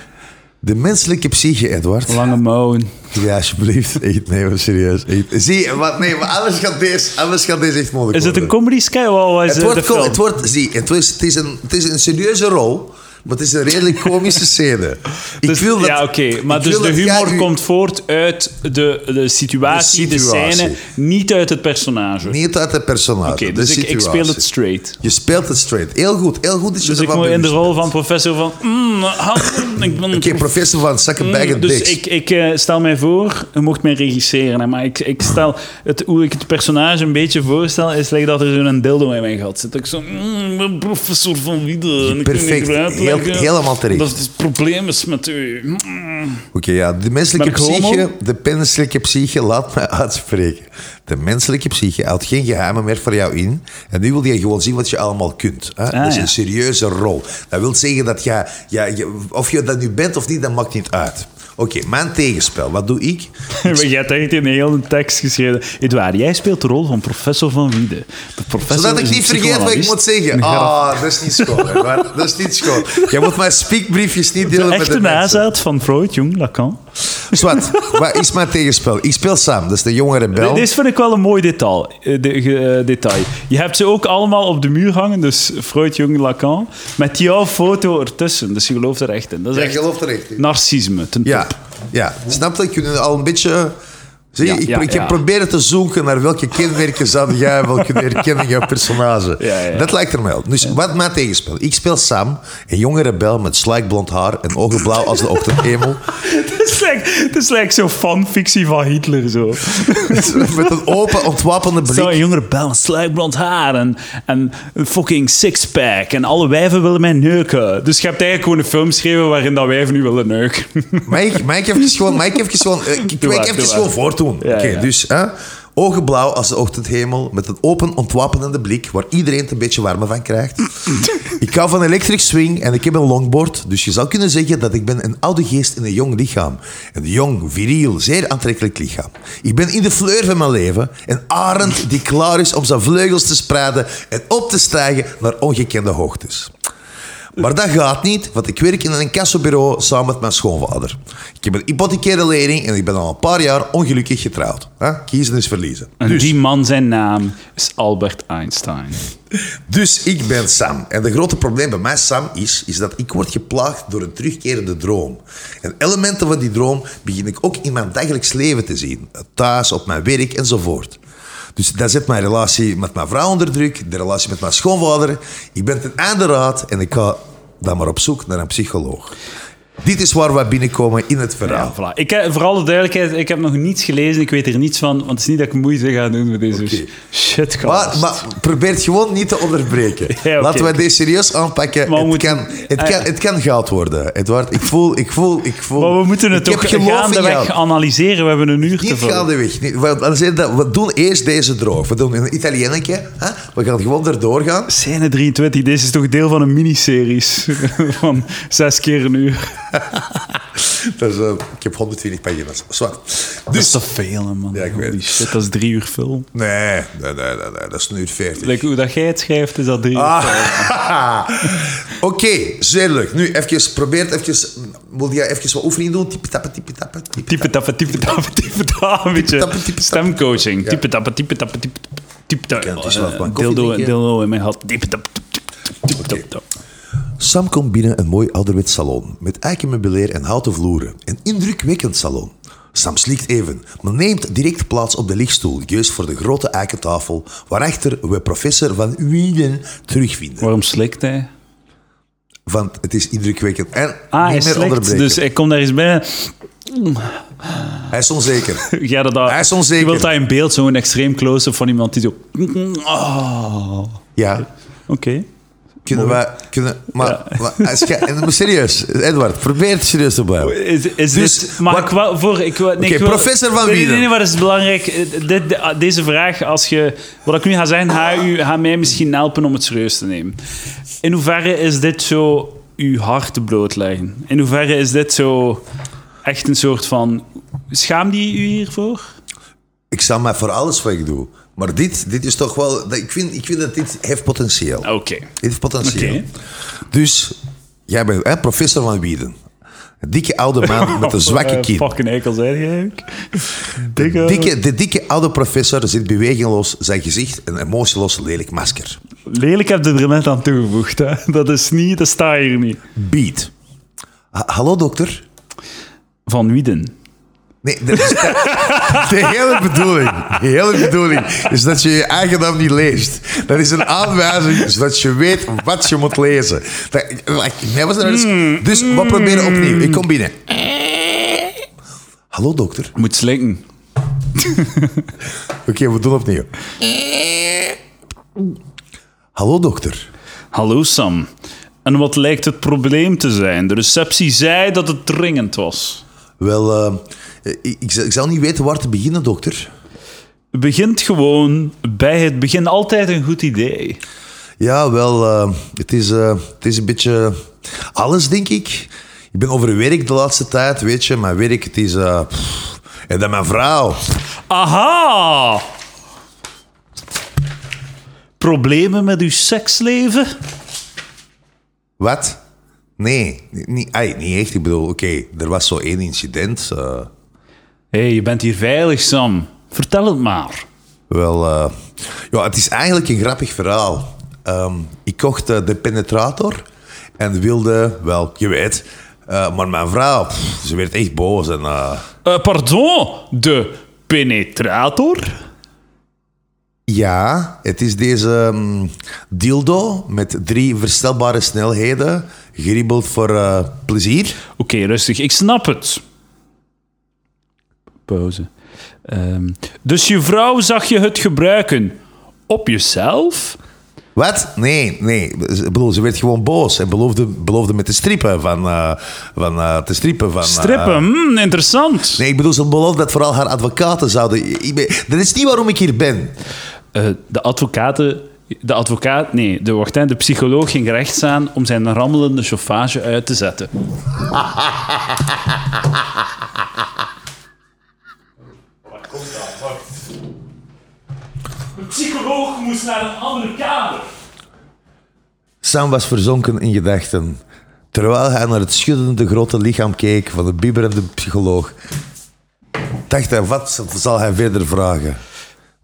De menselijke psyche, Edward. Lange mouwen. Ja, alsjeblieft. Echt, nee, maar serieus. Echt. Zie, wat, nee, maar anders gaat deze, anders gaat deze echt moeilijk Is het een worden. comedy sky? Wat is Het eh, wordt, de co- film? het wordt, zie, het is, het is, een, het is een serieuze rol, Maar het is een redelijk [laughs] komische scène. Ik Dus- wil dat, ja, oké. Maar ik dus wil de dat jij humor u- komt voort uit de, de, situatie, de De situatie. scène, niet uit het personage. Oké, Niet uit het personage, de dus ik, ik speel situatie. het straight. Je speelt het straight. Heel goed, heel goed dat je Dus er ik wat moet bij in de bent. rol van professor van... Mm, ah, ik ben Oké, professor van Sucker Bag and Dus Dicks. ik, ik eh, stel mij voor, je mocht mij regisseren, hè, maar ik, ik stel het, hoe ik het personage een beetje voorstel, is like dat er zo'n dildo in mijn gat zit. Ik zo, "Mm, ik ben professor van Wieden. Perfect. Heel- helemaal terecht. Dat het het probleem is met u. Mm. [laughs] Oké, ja, de menselijke Ben ik homo? psyche, de menselijke psyche, laat mij [laughs] uitspreken. De menselijke psyche houdt geen geheimen meer voor jou in. En nu wil je gewoon zien wat je allemaal kunt. Hè? Ah, dat is ja. een serieuze rol. Dat wil zeggen dat jij, ja, je- of je dat nu bent of niet, dat maakt niet uit. Oké, mijn tegenspel, wat doe ik? Maar jij hebt echt in een hele tekst geschreven. Edouard, jij speelt de rol van professor van Wieden. De professor Zodat is ik een niet vergeet wat ik psychoanalist. moet zeggen. Ah, dat is niet schoon. [laughs] hè, maar Dat is niet schoon. Jij moet mijn speakbriefjes niet delen met Echte de mensen. nazaat van Freud, jong, Lacan. Zwart, wat is mijn tegenspel? Ik speel Sam, dat is de jongere bel. Dit Dit vind ik wel een mooi detail. eh, de- ge- eh, detail. Je hebt ze ook allemaal op de muur hangen, dus Freud, Jung, Lacan, met jouw foto ertussen. Dus je gelooft er echt in. Dat is Ja, ik echt geloof er echt in. narcisme. ten Ja, top. [laughs] ja. Snap dat? Ik kun al een beetje... Zie, je, Ja, ik, ja, ik ja. heb proberen te zoeken naar welke kenmerken zou [laughs] jij wel kunnen herkennen in jouw personage. Ja, ja. Dat lijkt er mij op. Dus wat mijn tegenspel? Ik speel Sam, een jonge rebel met slijkblond haar en ogen blauw als de [laughs] ochtendemel. Het is like- Het is like zo'n fanfictie van Hitler. Zo. met een open, ontwapende blik. Zo'n jongere bel, een sluikblond haar en, en een fucking sixpack. En alle wijven willen mij neuken. Dus je hebt eigenlijk gewoon een film geschreven waarin dat wijven nu willen neuken. Mike, Mike even gewoon, Mike even gewoon, eh, ik wil maar, even doe maar. gewoon voortdoen. Ja, Oké, ja. dus hè, ogen blauw als de ochtendhemel, met een open, ontwapenende blik, waar iedereen het een beetje warmer van krijgt. ik hou van electric swing en ik heb een longboard, dus je zou kunnen zeggen dat ik ben een oude geest in een jong lichaam. Een jong, viriel, zeer aantrekkelijk lichaam. Ik ben in de fleur van mijn leven, een arend die klaar is om zijn vleugels te spreiden en op te stijgen naar ongekende hoogtes. Maar dat gaat niet, want ik werk in een kassobureau samen met mijn schoonvader. Ik heb een hypothecaire lening en ik ben al een paar jaar ongelukkig getrouwd. Hè? Kiezen is verliezen. En die man, zijn naam is Albert Einstein. Dus ik ben Sam. En het grote probleem bij mij, Sam, is, is dat ik word geplaagd door een terugkerende droom. En elementen van die droom begin ik ook in mijn dagelijks leven te zien. Thuis, op mijn werk enzovoort. Dus dat zet mijn relatie met mijn vrouw onder druk, de relatie met mijn schoonvader. Ik ben ten einde raad en ik ga dan maar op zoek naar een psycholoog. Dit is waar we binnenkomen in het verhaal. Ja, voilà. Ik heb, voor alle duidelijkheid, ik heb nog niets gelezen, ik weet er niets van, want het is niet dat ik moeite ga doen met deze Oké. shit. Maar, maar probeer het gewoon niet te [laughs] onderbreken. oké. Laten we deze serieus aanpakken. Maar we het, moeten- Eh. kan, het, kan, het kan goud worden, Edward. Ik voel, ik voel, ik voel. Maar we moeten het ik ook heb geloof in gaandeweg jou. analyseren, we hebben een uur te Niet vullen. gaandeweg. Niet, want anders is dat- we doen eerst deze droog. We doen een Italiënnetje. Hè? We gaan gewoon erdoor gaan. Scène 23, deze is toch deel van een miniseries [laughs] van zes keer een uur. Dat is, eh, ik heb 120 pagina's. Zwart. dat is te veel, hè, man. Dus- Ja, ik Holy weet het. shit, dat is drie uur film. Nee, nee, nee, nee, nee, dat is nu uur 40. Like, hoe dat jij het schrijft, is dat drie uur. Ah, [laughs] Oké, zeer leuk. Nu, even, probeer het even. Wil jij even wat oefening doen? Type tappen, type tappen. type Type tappen, type tappen, type tappen. Een beetje tappen, type tappen. stemcoaching. Ja. Type tappen, type tappen, type tappen. Type Oké, het is wel tappen. gewoon Eh, koffie Dildo drinken. dildo in mijn hand. Type tappen, type tappen, type Oké. tappen. Sam komt binnen een mooi ouderwets salon met eikenmeubilair en houten vloeren. Een indrukwekkend salon. Sam slikt even, maar neemt direct plaats op de lichtstoel, juist voor de grote eikentafel, waarachter we professor van Wieden terugvinden. Waarom slikt hij? Want het is indrukwekkend. En Ah, hij niet meer slikt. onderbreken. Dus ik kom daar eens binnen. [laughs] Hij is onzeker. Ja, dat, dat, Hij is onzeker. Je wilt daar in beeld zo'n extreem close-up van iemand die zo... Oh, Oké. Ja. Kunnen wij... Kunnen, maar, maar als je- en- maar serieus, Edward, probeer het serieus te blijven. Is, is Dus, dit... Mag wat- ik wel voor... Ik, wil- nee, Oké, ik wil- professor Van Nee, nee, Wieden. nee, maar dat is belangrijk. Eh, Dit, de- deze vraag, als je... Wat ik nu ga zeggen, ga, u, ga mij misschien helpen om het serieus te nemen. In hoeverre is dit zo uw hart blootleggen? In hoeverre is dit zo echt een soort van... Schaamde je u hiervoor? Ik sta mij voor alles wat ik doe. Maar dit, dit is toch wel... Ik vind, ik vind dat dit heeft potentieel. Oké. Dit heeft potentieel. Oké. Dus jij bent hè, professor van Wieden. Een dikke oude [laughs] man met een zwakke Eh, kin. Fucking eikel zijn jij [laughs] ook. Dikke... Dikke, de dikke oude professor zit bewegingloos, zijn gezicht een emotieloos lelijk masker. Lelijk heb je er net aan toegevoegd. Hè? [laughs] Dat is niet, dat staat hier niet. Beat. Ha- Hallo dokter. Van Wieden. Nee, dat is [laughs] de hele bedoeling. De hele bedoeling is dat je je eigen naam niet leest. Dat is een aanwijzing zodat je weet wat je moet lezen. Dat, like, nee, wat is er- Hmm. dus we proberen opnieuw. Ik kom binnen. Hallo dokter. Moet slinken. Oké, we doen opnieuw. Hallo dokter. Hallo Sam. En wat lijkt het probleem te zijn? De receptie zei dat het dringend was. Wel, eh, ik, ik, zal- ik zal niet weten waar te beginnen, dokter. Begint gewoon bij het begin. Altijd een goed idee. Ja, wel, eh, het, is, eh, het is een beetje alles, denk ik. Ik ben overwerkt de laatste tijd, weet je. Mijn werk, het is... eh, pff, en dan mijn vrouw. Aha! Problemen met uw seksleven? Wat? Nee, niet, niet- ai, niet echt. Ik bedoel, oké, er was zo één incident. eh, Hé, je bent hier veilig, Sam. Vertel het maar. Wel, eh, ja, het is eigenlijk een grappig verhaal. Ehm, ik kocht eh, de penetrator en wilde, wel, je weet, eh, maar mijn vrouw, pff, ze werd echt boos. En, eh, Eh, pardon, de penetrator? ja, het is deze ehm, dildo met drie verstelbare snelheden, geribbeld voor eh, plezier. Oké, rustig, ik snap het. Pauze. Ehm, dus je vrouw zag je het gebruiken op jezelf? Wat? Nee, nee. Ze- Ik bedoel, ze werd gewoon boos en beloofde, beloofde met te strippen van... eh, van eh, te strippen van... eh, Strippen, hmm, interessant. Nee, ik bedoel, ze beloofde dat vooral haar advocaten zouden... Ik ben- dat is niet waarom ik hier ben. Eh, de advocaten... De advocaat, nee, de, wacht, hè, de psycholoog ging recht staan om zijn rammelende chauffage uit te zetten. De psycholoog moest naar een andere kamer. Sam was verzonken in gedachten, terwijl hij naar het schuddende grote lichaam keek van de bibberende psycholoog. Dacht hij, wat zal hij verder vragen?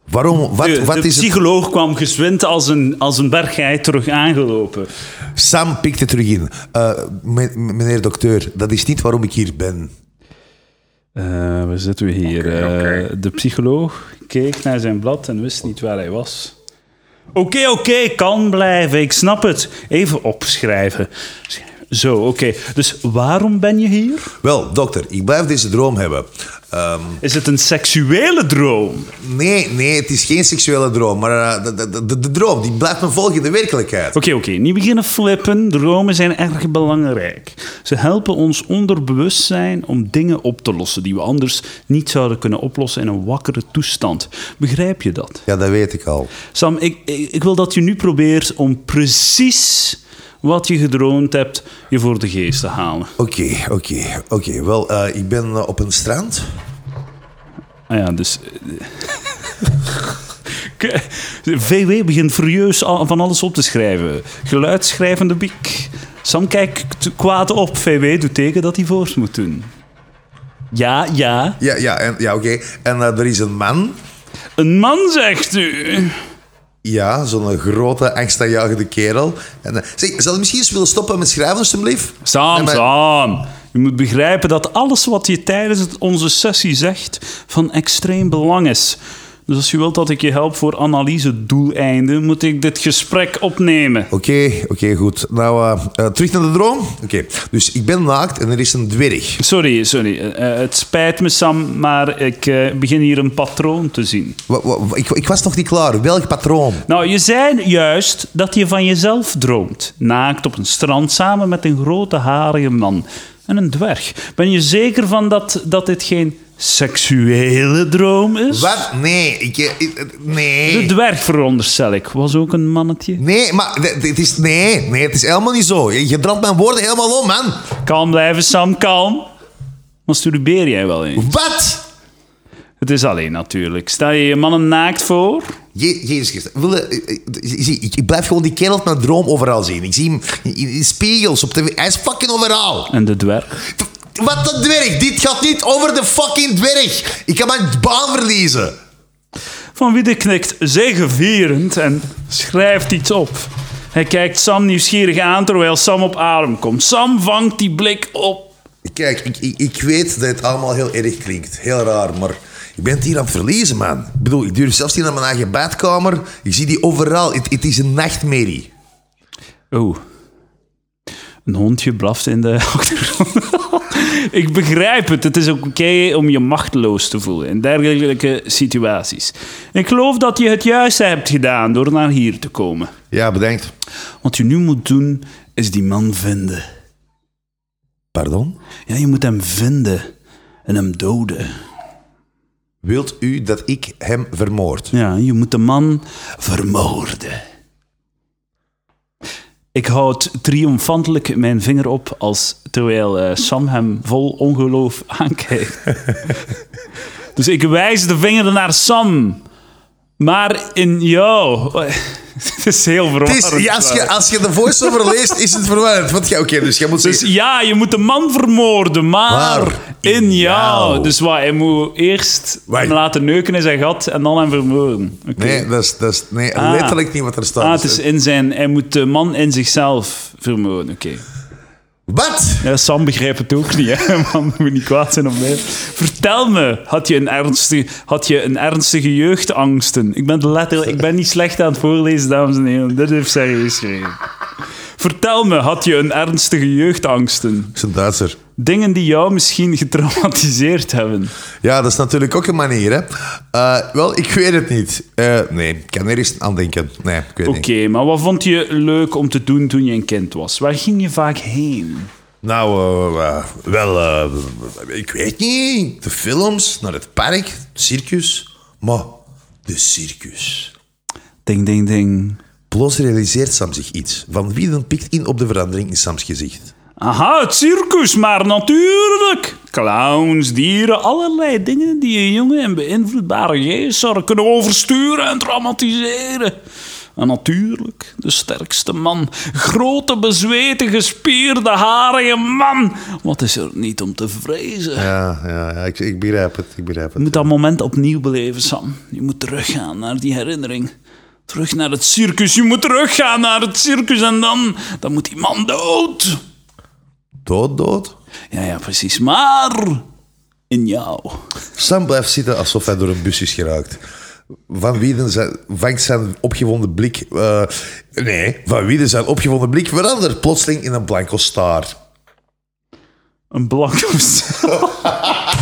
Waarom, wat, De, wat de is het? psycholoog kwam gezwind als een, als een berggeit terug aangelopen. Sam pikte terug in. Eh, me- me- meneer dokter, dat is niet waarom ik hier ben. Eh, waar zitten we hier? Oké, oké. Eh, de psycholoog keek naar zijn blad en wist niet waar hij was. Oké, oké, kan blijven. Ik snap het. Even opschrijven. Schrijven. Zo, oké. Dus waarom ben je hier? Wel, dokter, ik blijf deze droom hebben. Ehm, Is het een seksuele droom? Oké, nee, nee, het is geen seksuele droom, maar eh, de, de, de, de droom die blijft me volgen in de werkelijkheid. oké. Niet beginnen flippen. Dromen zijn erg belangrijk. Ze helpen ons onderbewustzijn om dingen op te lossen die we anders niet zouden kunnen oplossen in een wakkere toestand. Begrijp je dat? Ja, dat weet ik al. Sam, ik, ik, ik wil dat je nu probeert om precies wat je gedroomd hebt je voor de geest te halen. Oké, oké, oké. Wel, eh, ik ben eh, op een strand. Ah ja, dus... [laughs] eh, VW begint furieus al- van alles op te schrijven. Geluidsschrijvende biek. Sam kijkt kwaad op. VW doet teken dat hij voort moet doen. Ja, ja. Ja, ja, en- ja oké. En eh, er is een man. Een man, zegt u. Ja, zo'n grote, angstaanjagende kerel. En, eh, zeg, zal je misschien eens willen stoppen met schrijven, alstublieft? Sam, Nee, maar- Sam. Je moet begrijpen dat alles wat je tijdens het- onze sessie zegt van extreem belang is. Dus als je wilt dat ik je help voor analyse-doeleinden, moet ik dit gesprek opnemen. Oké, oké, goed. Nou, eh, eh, terug naar de droom. Oké, dus ik ben naakt en er is een dwerg. Sorry, sorry. Eh, eh, het spijt me, Sam, maar ik eh, begin hier een patroon te zien. Wa- wa- wa- ik, ik was nog niet klaar. Welk patroon? Nou, je zei juist dat je van jezelf droomt. Naakt op een strand samen met een grote harige man en een dwerg. Ben je zeker van dat, dat dit geen seksuele droom is? Wat? Nee, ik... eh, ik- De nee. dwerg, veronderstel ik, was ook een mannetje. Nee, maar dit- dit is... Nee, nee, het is helemaal niet zo. Je, je draait mijn woorden helemaal om, man. Kalm blijven, Sam, kalm. Masturbeer jij wel eens? Wat? Het is alleen natuurlijk. Stel je je mannen naakt voor? Je, Jezus Christus. Wil je- eh, eh, zie, ik, ik blijf gewoon die kerel op mijn droom overal zien. Ik zie hem in, in- in spiegels, op tv. Hij is fucking overal. En de dwerg? Wat dat dwerg? Dit gaat niet over de fucking dwerg. Ik kan mijn baan verliezen. Van Wiede knikt zegevierend en schrijft iets op. Hij kijkt Sam nieuwsgierig aan terwijl Sam op adem komt. Sam vangt die blik op. Kijk, ik, ik, ik weet dat het allemaal heel erg klinkt. Heel raar, maar ik ben het hier aan het verliezen, man. Ik bedoel, ik durf zelfs niet naar mijn eigen badkamer. Ik zie die overal. Het, het is een nachtmerrie. Oeh. Een hondje blaft in de [laughs] achtergrond. Ik begrijp het. Het is ook oké om je machteloos te voelen in dergelijke situaties. Ik geloof dat je het juist hebt gedaan door naar hier te komen. Ja, bedankt. Wat je nu moet doen, is die man vinden. Pardon? Ja, je moet hem vinden en hem doden. Wilt u dat ik hem vermoord? Ja, je moet de man vermoorden. Ik houd triomfantelijk mijn vinger op als, terwijl eh, Sam hem vol ongeloof [laughs] aankijkt. dus ik wijs de vinger naar Sam, maar in jou. [laughs] Het is heel Het verwarrend. is, ja, als, je, als je de voice-over leest, is het verwarrend. Want ja, oké, dus jij moet Dus zeggen... ja, je moet de man vermoorden, maar, Maar in, in jou. jou. Dus wat, hij moet eerst Wij- hem laten neuken in zijn gat en dan hem vermoorden. Oké. Nee, dat is, dat is nee, Ah. letterlijk niet wat er staat. Dus, Ah, het is in zijn... Hij moet de man in zichzelf vermoorden, oké. eh, Wat? Ja, Sam begrijpt het ook niet, hè. [laughs] Man, moet niet kwaad zijn op mij. Vertel me, had je een ernstige, had je een ernstige jeugdangsten? Ik ben, letterlijk, ik ben niet slecht aan het voorlezen, dames en heren. Dit heeft serieus geschreven. Vertel me, had je een ernstige jeugdangsten? Het is een Duitser. Dingen die jou misschien getraumatiseerd hebben. Ja, dat is natuurlijk ook een manier, hè. Eh, wel, ik weet het niet. Eh, nee, ik kan er eens aan denken. Nee, ik weet Oké, niet. maar wat vond je leuk om te doen toen je een kind was? Waar ging je vaak heen? Nou, eh, eh, wel, eh, ik weet niet. De films, naar het park, het circus. Maar, de circus. Ding, ding, ding. Plots realiseert Sam zich iets. Van wie dan pikt in op de verandering in Sams gezicht. Aha, het circus, maar natuurlijk. Clowns, dieren, allerlei dingen die een jonge en beïnvloedbare geest zouden kunnen oversturen en traumatiseren. En natuurlijk, de sterkste man. Grote, bezweten, gespierde, harige man. Wat is er niet om te vrezen? Ja, ja, ja, ik, ik begrijp het, ik begrijp Je het. moet dat moment opnieuw beleven, Sam. Je moet teruggaan naar die herinnering. Terug naar het circus. Je moet teruggaan naar het circus en dan, dan moet die man dood. Dood, dood? Ja, ja, precies. Maar in jou. Sam blijft zitten alsof hij door een bus is geraakt. Van Wieden zijn, vangt zijn opgewonden blik... eh, nee, Van Wieden zijn opgewonden blik verandert plotseling in een blanco staar. Een blanco staar.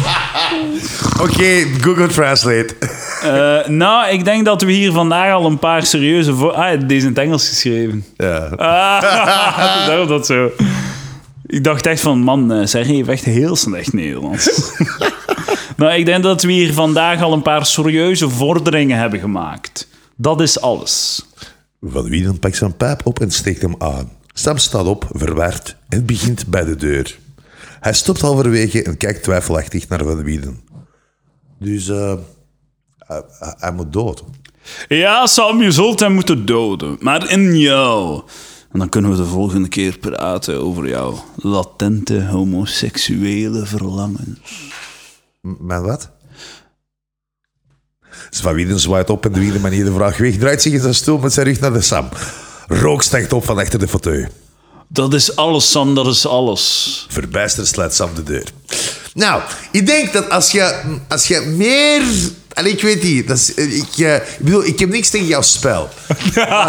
Oké, Google Translate. [laughs] Eh, nou, ik denk dat we hier vandaag al een paar serieuze... vo- Ah, deze is in het Engels geschreven. Ja. Ah, [laughs] daarom dat zo. Ik dacht echt van, man, eh, zij heeft echt heel slecht Nederlands. nou, ik denk dat we hier vandaag al een paar serieuze vorderingen hebben gemaakt. Dat is alles. Van Wieden pakt zijn pijp op en steekt hem aan. Sam staat op, verward, en begint bij de deur. Hij stopt halverwege en kijkt twijfelachtig naar Van Wieden. Dus eh, hij, hij- hij moet dood. Ja, Sam, je zult hem moeten doden. Maar in jou. En dan kunnen we de volgende keer praten over jouw latente homoseksuele verlangens. M- Mijn wat? Dus Van Wieden zwaait op en de wielen manier de vraag weg. Draait zich in zijn stoel met zijn rug naar de Sam. Rook stijgt op van achter de fauteuil. Dat is alles, Sam, dat is alles. Verbijsterd sluit Sam de deur. Nou, ik denk dat als je, als je meer... Allee, ik weet niet. Dat is, eh, ik, eh, ik bedoel, ik heb niks tegen jouw spel.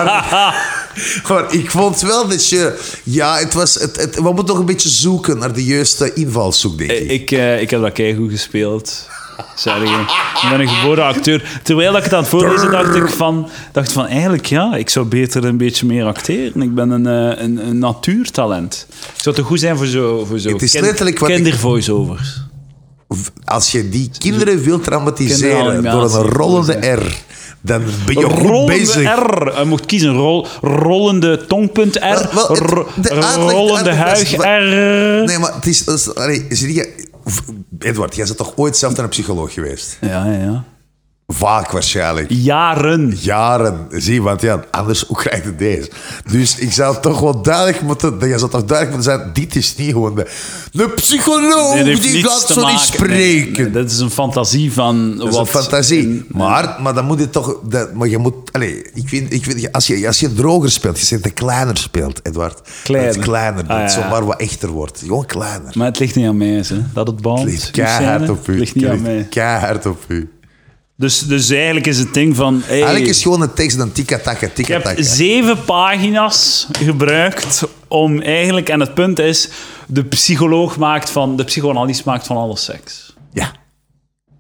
maar, maar ik vond wel dat je... Ja, het was... Het, het- we moeten nog een beetje zoeken naar de juiste invalshoek, denk ik. Ik, eh, ik heb dat keigoed gespeeld. Sorry, ik ben een geboren acteur. Terwijl ik het aan het voorlezen dacht ik van, dacht van... Eigenlijk ja, ik zou beter een beetje meer acteren. Ik ben een, eh, een, een natuurtalent. Ik zou te goed zijn voor zo, voor zo Het is letterlijk wat ik- kindervoice-overs. Als je die kinderen wilt traumatiseren door Kinderanimatie. een rollende R... Dan ben je goed bezig. rollende R. Hij mocht kiezen. Rol, rollende tongpunt R. wel, het- ro- de uitleg- rollende de huig uitleg- R. Nee, maar het is... dat is- allee, zie je- Edward, jij bent toch ooit zelf naar een psycholoog geweest? Ja, ja, ja. Vaak waarschijnlijk. Jaren. Oh, Jaren, zie, want ja, anders hoe krijg je deze? Dus ik zou toch wel duidelijk moeten, je zou toch duidelijk moeten zijn, dit is niet gewoon de, de psycholoog Dit heeft die niets gaat te zo niet maken. spreken. Nee, nee, dat is een fantasie van Dat is wat... een fantasie. Maar, maar dan moet je toch. Dat, maar je moet. Allez, ik vind, ik vind, als, je, als je droger speelt, je zegt dat je kleiner speelt, Edward. Kleiner. Dat het kleiner, dat Ah, het ja. zomaar wat echter wordt. Gewoon kleiner. Maar het ligt niet aan mij, eens, hè. dat het band. Het ligt keihard op u. ligt niet Het aan mij. keihard op u. Dus, dus eigenlijk is het ding van... hey, Eigenlijk is gewoon een tekst dan tikka-takka, Ik heb tikka-takka. zeven pagina's gebruikt om eigenlijk... En het punt is, de psycholoog maakt van... De psychoanalist maakt van alles seks. Ja.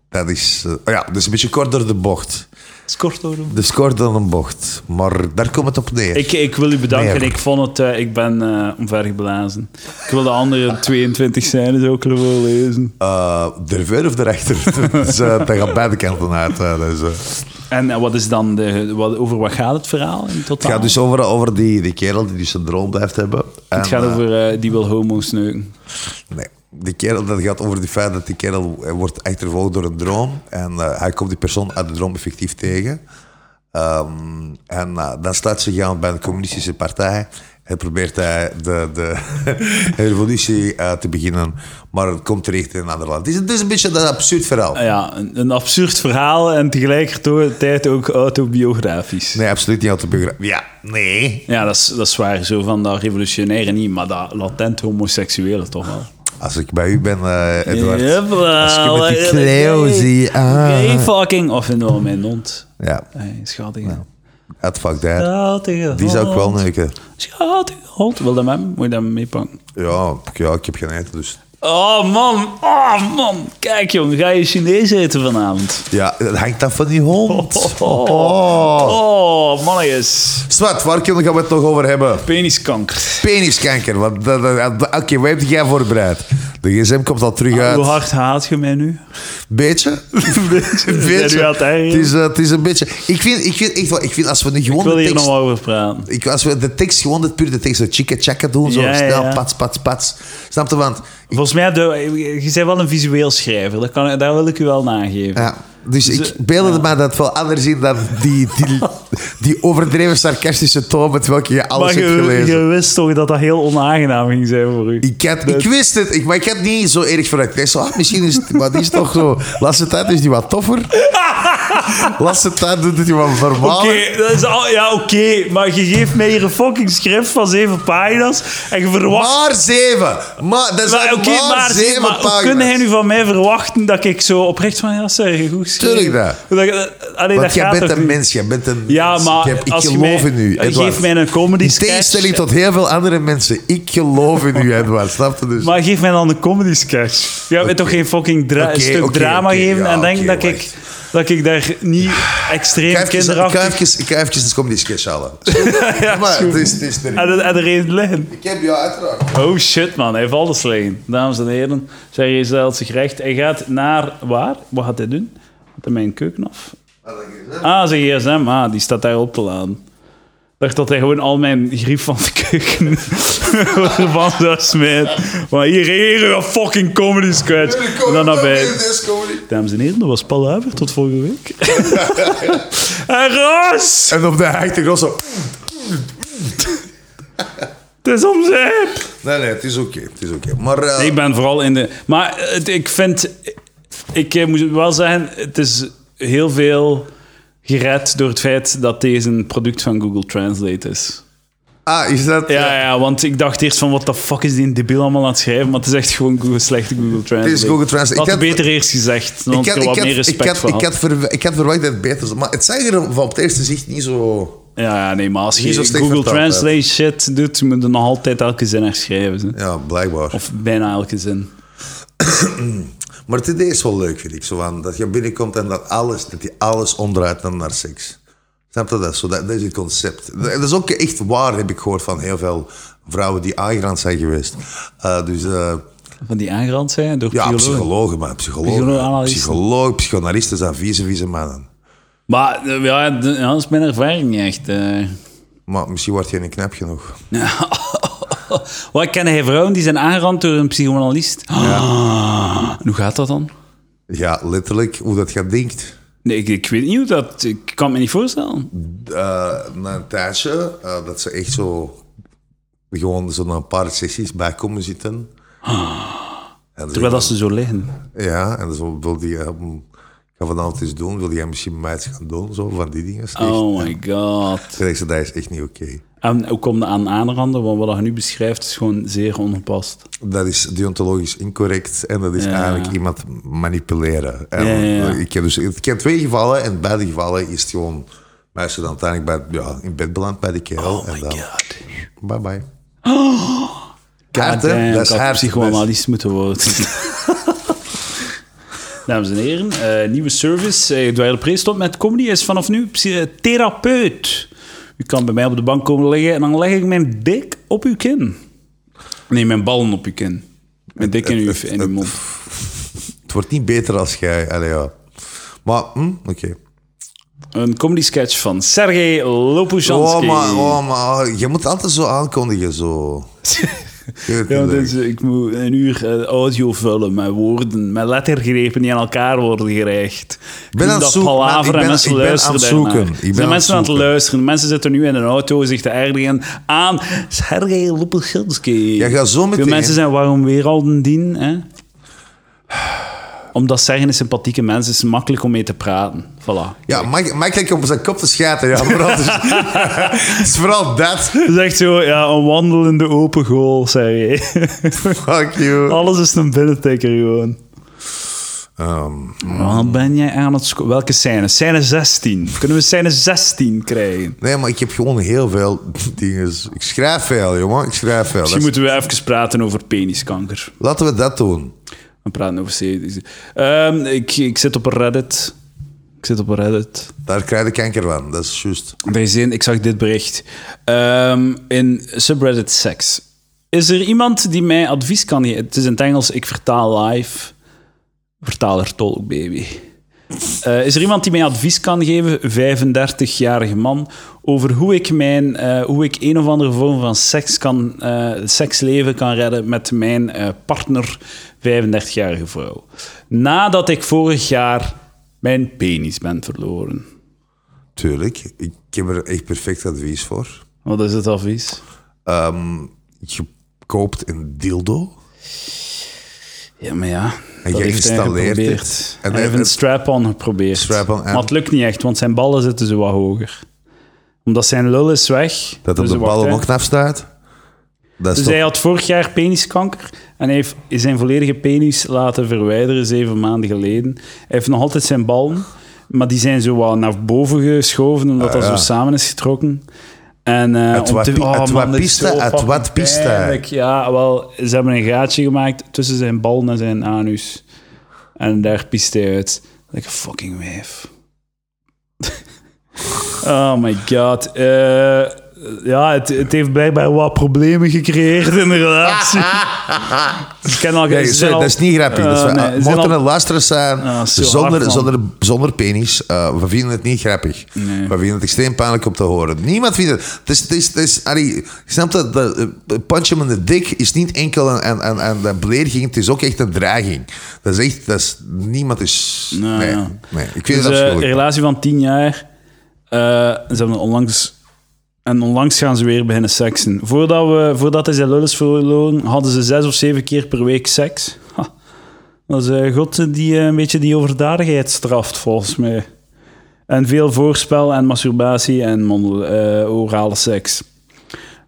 Dat is, eh, ja, dus een beetje kort door de bocht. Dat is kort hoor. Dus kort door een bocht. Maar daar komt het op neer. Ik, ik wil u bedanken. Nee, ik vond het... eh, ik ben eh omvergeblazen. Ik wil de [laughs] andere 22 scènes ook nog wel lezen. Eh, de voor of erachter? [laughs] dus, eh, dat gaat beide kanten uit. hè. dus, eh. En eh, wat is dan de, wat, over wat gaat het verhaal in totaal? Het gaat dus over, over die, die kerel die dus een droom blijft hebben. En, Het gaat eh, over eh, die wil homo sneuken. nee, die kerel, dat gaat over het feit dat die kerel eh, wordt achtervolgd door een droom. En eh, hij komt die persoon uit de droom effectief tegen. Ehm, en eh, dan staat ze gaan bij de communistische partij. En probeert hij de, de [laughs] revolutie eh, te beginnen. Maar het komt terecht in een ander land. Het is, het is een beetje dat absurd verhaal. Ah Ja, een, een absurd verhaal en tegelijkertijd ook autobiografisch. Nee, absoluut niet autobiografisch. Ja, nee. Ja, dat is, dat is waar. Zo van dat revolutionaire niet, maar dat latent homoseksuele toch wel. Als ik bij u ben, eh Edward. Jawel, als ik met die eh, Cleo gay- zie, ah. gay fucking... Of in wel mijn hond. Ja, Hey, schattige het fuck that. Schattige hond. Die zou ik wel neuken. Schattige hond. Wil dat met hem? Moet je dat meepakken? Ja, ik- ja, ik heb geen eten, dus... Oh man, oh man. Kijk jong, ga je Chinees eten vanavond? Ja, het hangt af van die hond. [laughs] Oh, Oh. oh mannetjes. Zwart, waar kunnen we het nog over hebben? Peniskanker. Peniskanker. want dat- dat- dat- Oké, wat heb jij voorbereid? De gsm komt al terug Ah, Hoe uit. hard haat je mij [laughs] nu? [laughs] Beetje? Een Zijn beetje. we aan het ergeren? Het is, eh, het is een beetje... Ik vind, ik vind, echt wel, ik vind als we nu Ik gewoon wil de hier nog tekst... wel over praten. Ik, als we de tekst gewoon, de, puur de tekst, zo chicka chaka doen, zo Ja, ja, snel, ja. pats, pats, pats. Snap je? Want... Volgens mij, de, je bent wel een visueel schrijver. Dat kan, daar wil ik u wel nageven. Ja, dus ik Ze- beelde me dat wel anders in dan die, die, die overdreven sarcastische toon met welke je alles maar hebt je, gelezen. je wist toch dat dat heel onaangenaam ging zijn voor u? Ik, had, ik wist het, ik, maar ik had niet zo erg vanuit. Ik dacht zo, ah, misschien is het, maar die is toch zo. Laatste tijd is die [laughs] wat toffer. Laatste tijd doet het die wat Oké, verbaal. dat is al- ja, oké, maar je geeft mij hier een fucking script van zeven pagina's en je verwacht. Maar zeven. Maar, dat Maar, zijn oké, maar, maar, zeg, zeven maar hoe kun pagina's. jij nu van mij verwachten dat ik zo oprecht van ja, sorry, goed geschreven. Tuurlijk dat. dat. Allee, Want dat jij gaat bent toch een niet? mens, jij bent een Ja, mens. maar ik, heb- ik als je geloof mij- in u, je geeft Edward. mij een comedy In sketch. tegenstelling tot heel veel andere mensen. Ik geloof in u, Edward. Snap je dus? Maar geef mij dan een comedy sketch. Je gaat mij toch geen fucking dra- Oké, stuk oké, drama oké, geven ja, en denk oké, dat, ik, wacht. dat ik daar niet extreem Ik ga even- ik kinderachtig... ga even- ik ga even een comedy sketch halen. maar het is, het is er niet. En er- en er één liggen. Ik heb jou uiteraard. Ah, Oh shit man, hij heeft alles liggen. Dames en heren, zij je stelt zich recht. Hij gaat naar... Waar? Wat gaat hij doen? Gaat hij mijn keuken af? Ah, zijn gsm. Ah, die staat daar op te laden. Ik dacht dat hij gewoon al mijn grief van de keuken [laughs] ervan zou smijten. Maar hier, hier, een fucking comedy sketch. En dan naar buiten. Dames en heren, dat was Paul Haver. Tot volgende week. [laughs] en Roos! En op de achtergrond zo. Het is om zeep! Nee, nee, het is oké. het is oké. Maar eh, Ik ben vooral in de... Maar het, ik vind... Ik eh, moet wel zeggen, het is heel veel gered door het feit dat deze een product van Google Translate is. ah, is dat. Ja, ja, want ik dacht eerst van, wat de fuck is die debiel allemaal aan het schrijven? Maar het is echt gewoon Google, slechte Google Translate. Google Translate. Had Ik het had- beter eerst gezegd, dan had ik er wat meer ik, respect had, voor ik, had. had verw- ik had verwacht dat het beter was. Maar het zag er van op het eerste zicht niet zo. Ja, ja, nee, maar als je Niet zo Google slecht vertaald, hè. Translate shit doet, moet je nog altijd elke zin herschrijven. hè. Ja, blijkbaar. Of bijna elke zin. Maar het idee is wel leuk, vind ik. Zo van, dat je binnenkomt en dat alles, dat je alles omdraait dan naar seks. Snap je dat? Zo, dat, dat is het concept. Dat is ook echt waar, heb ik gehoord van heel veel vrouwen die aangerand zijn geweest. Eh, dus eh, Van die aangerand zijn door ja, psychologen. psychologen, maar psychologen. Psycholoog-analysten. Psychologen, psychoanalisten zijn vieze, vieze mannen. Maar eh, ja, d- ja, dat is mijn ervaring niet echt. eh. Maar misschien word je niet knap genoeg. Wat ik ken hij vrouwen die zijn aangerand door een psychoanalist. Ah, [gasps] en hoe gaat dat dan? Ja, letterlijk, hoe dat gaat denkt. Nee, ik, ik weet niet hoe dat... Ik kan het me niet voorstellen. Eh, na een tijdje, eh, dat ze echt zo gewoon zo na een paar sessies bij komen zitten. En dan Terwijl dat ze zo liggen. Ja, en zo wil die, ehm, ik ga vanavond iets doen, wil jij misschien mij iets gaan doen, zo, van die dingen. Echt- Oh my god. Toen dacht ze, dat is echt niet oké. En hoe komt dat aan aanranden? Want wat je nu beschrijft is gewoon zeer ongepast. Dat is deontologisch incorrect en dat is Ja. eigenlijk iemand manipuleren. En Ja, ja, ja. Ik, heb dus, ik heb twee gevallen en in beide gevallen is het gewoon meisje dan uiteindelijk bij, ja, in bed beland bij de kerel. Oh my en dan, god. Ah, bye [gasps] bye. Kaarten, Damn, eh, dat is ik dus. had haar psychoanalyst moeten [laughs] worden. Dames en heren, eh, nieuwe service. Eh Dwyer Prees stopt met comedy. Hij is vanaf nu psy- therapeut. U kan bij mij op de bank komen liggen en dan leg ik mijn dik op uw kin. Nee, mijn ballen op uw kin. Mijn dik in uw, in uw mond. Het wordt niet beter als jij. Allee, ja. Maar, hm, oké. Een comedy sketch van Sergej Oh, Lopushansky. maar, oh, maar je moet altijd zo [laughs] aankondigen, zo. Ik vind het Ja, want niet leuk. dus, eh, ik moet een uur eh, audio vullen met woorden, met lettergrepen die aan elkaar worden gereigd. Ik ben doe aan het dat zoeken, palaver man. Ik en ben- mensen ik ben luisteren aan het zoeken. daarnaar. Ik Er ben zijn aan het mensen aan het zoeken. luisteren. Mensen zitten nu in een auto zich te ergeren aan Sergej Lopushinsky. Jij gaat zo meteen- Veel mensen zijn waarom weer al een dien, hè? Omdat zeggen is sympathieke mensen, is makkelijk om mee te praten. Voilà. Ja, Mike, Mike lijkt op zijn kop te schaten. Ja, vooral, [laughs] dus, [laughs] het is vooral dat. Het is echt zo, ja, een wandelende open goal, Sergej. Fuck [laughs] you. Alles is een binnentikker gewoon. Ehm, Wat ben jij aan het sco- Welke scène? Scène 16. Kunnen we scène 16 krijgen? nee, maar ik heb gewoon heel veel [laughs] dingen. Ik schrijf veel, jongen. Ik schrijf veel. Dat Misschien is- moeten we even praten over peniskanker. Laten we dat doen. We praten over series. Ehm, ik, ik zit op Reddit. Ik zit op Reddit. Daar krijg je kanker van. Dat is juist. Er is één, ik zag dit bericht. Ehm, in subreddit seks. Is er iemand die mij advies kan geven? Het is in het Engels, ik vertaal live. Vertaler tolk, baby. Eh, is er iemand die mij advies kan geven, 35-jarige man, over hoe ik, mijn, eh, hoe ik een of andere vorm van seks kan, eh, seksleven kan redden met mijn eh, partner, 35-jarige vrouw? Nadat ik vorig jaar mijn penis ben verloren. Tuurlijk. Ik heb er echt perfect advies voor. Wat is het advies? Ehm, je koopt een dildo. Ja, maar ja. En dat jij heeft hij installeert geprobeerd. het. Hij En hij- heeft een het- strap-on geprobeerd. Strap-on en- Maar het lukt niet echt, want zijn ballen zitten zo wat hoger. Omdat zijn lul is weg. Dat op dus de wacht, ballen hè. nog knap staat. Dat is Dus toch- hij had vorig jaar peniskanker en hij heeft zijn volledige penis laten verwijderen zeven maanden geleden. Hij heeft nog altijd zijn ballen, maar die zijn zo wat naar boven geschoven omdat dat Ah, ja. zo samen is getrokken. En, eh, Uit om wat te- pi- uit man, wat dit is piste? zo Uit fucking wat piste? pijnlijk. Ja, wel, ze hebben een gaatje gemaakt tussen zijn ballen en zijn anus. En daar piest hij uit. Like a fucking wijf. Oh my god. Eh, ja, het, het heeft blijkbaar wat problemen gecreëerd in de [laughs] relatie. ik ken al ze zijn Nee, sorry, al- dat is niet grappig. Eh, dat is, Ah, nee, ze zijn mochten al- er luisteraars zijn Ah, zo hard, zonder, man. zonder, zonder penis, eh, we vinden het niet grappig. Nee. We vinden het extreem pijnlijk om te horen. Niemand vindt het. Het is, het is, het is Arie, je snapt dat, dat eh, punch hem in de dik is niet enkel een, een, een, een- een belediging, het is ook echt een dreiging. Dat is echt, dat is, niemand is... Nou, nee, ja. nee, ik vind het Dus, eh, afschuwelijk. een relatie van tien jaar. Eh, ze hebben onlangs... En onlangs gaan ze weer beginnen seksen. Voordat, we, voordat hij zijn lul is verloren, hadden ze zes of zeven keer per week seks. Ha. Dat is eh, God die eh, een beetje die overdadigheid straft, volgens mij. En veel voorspel en masturbatie en mondel- eh, orale seks.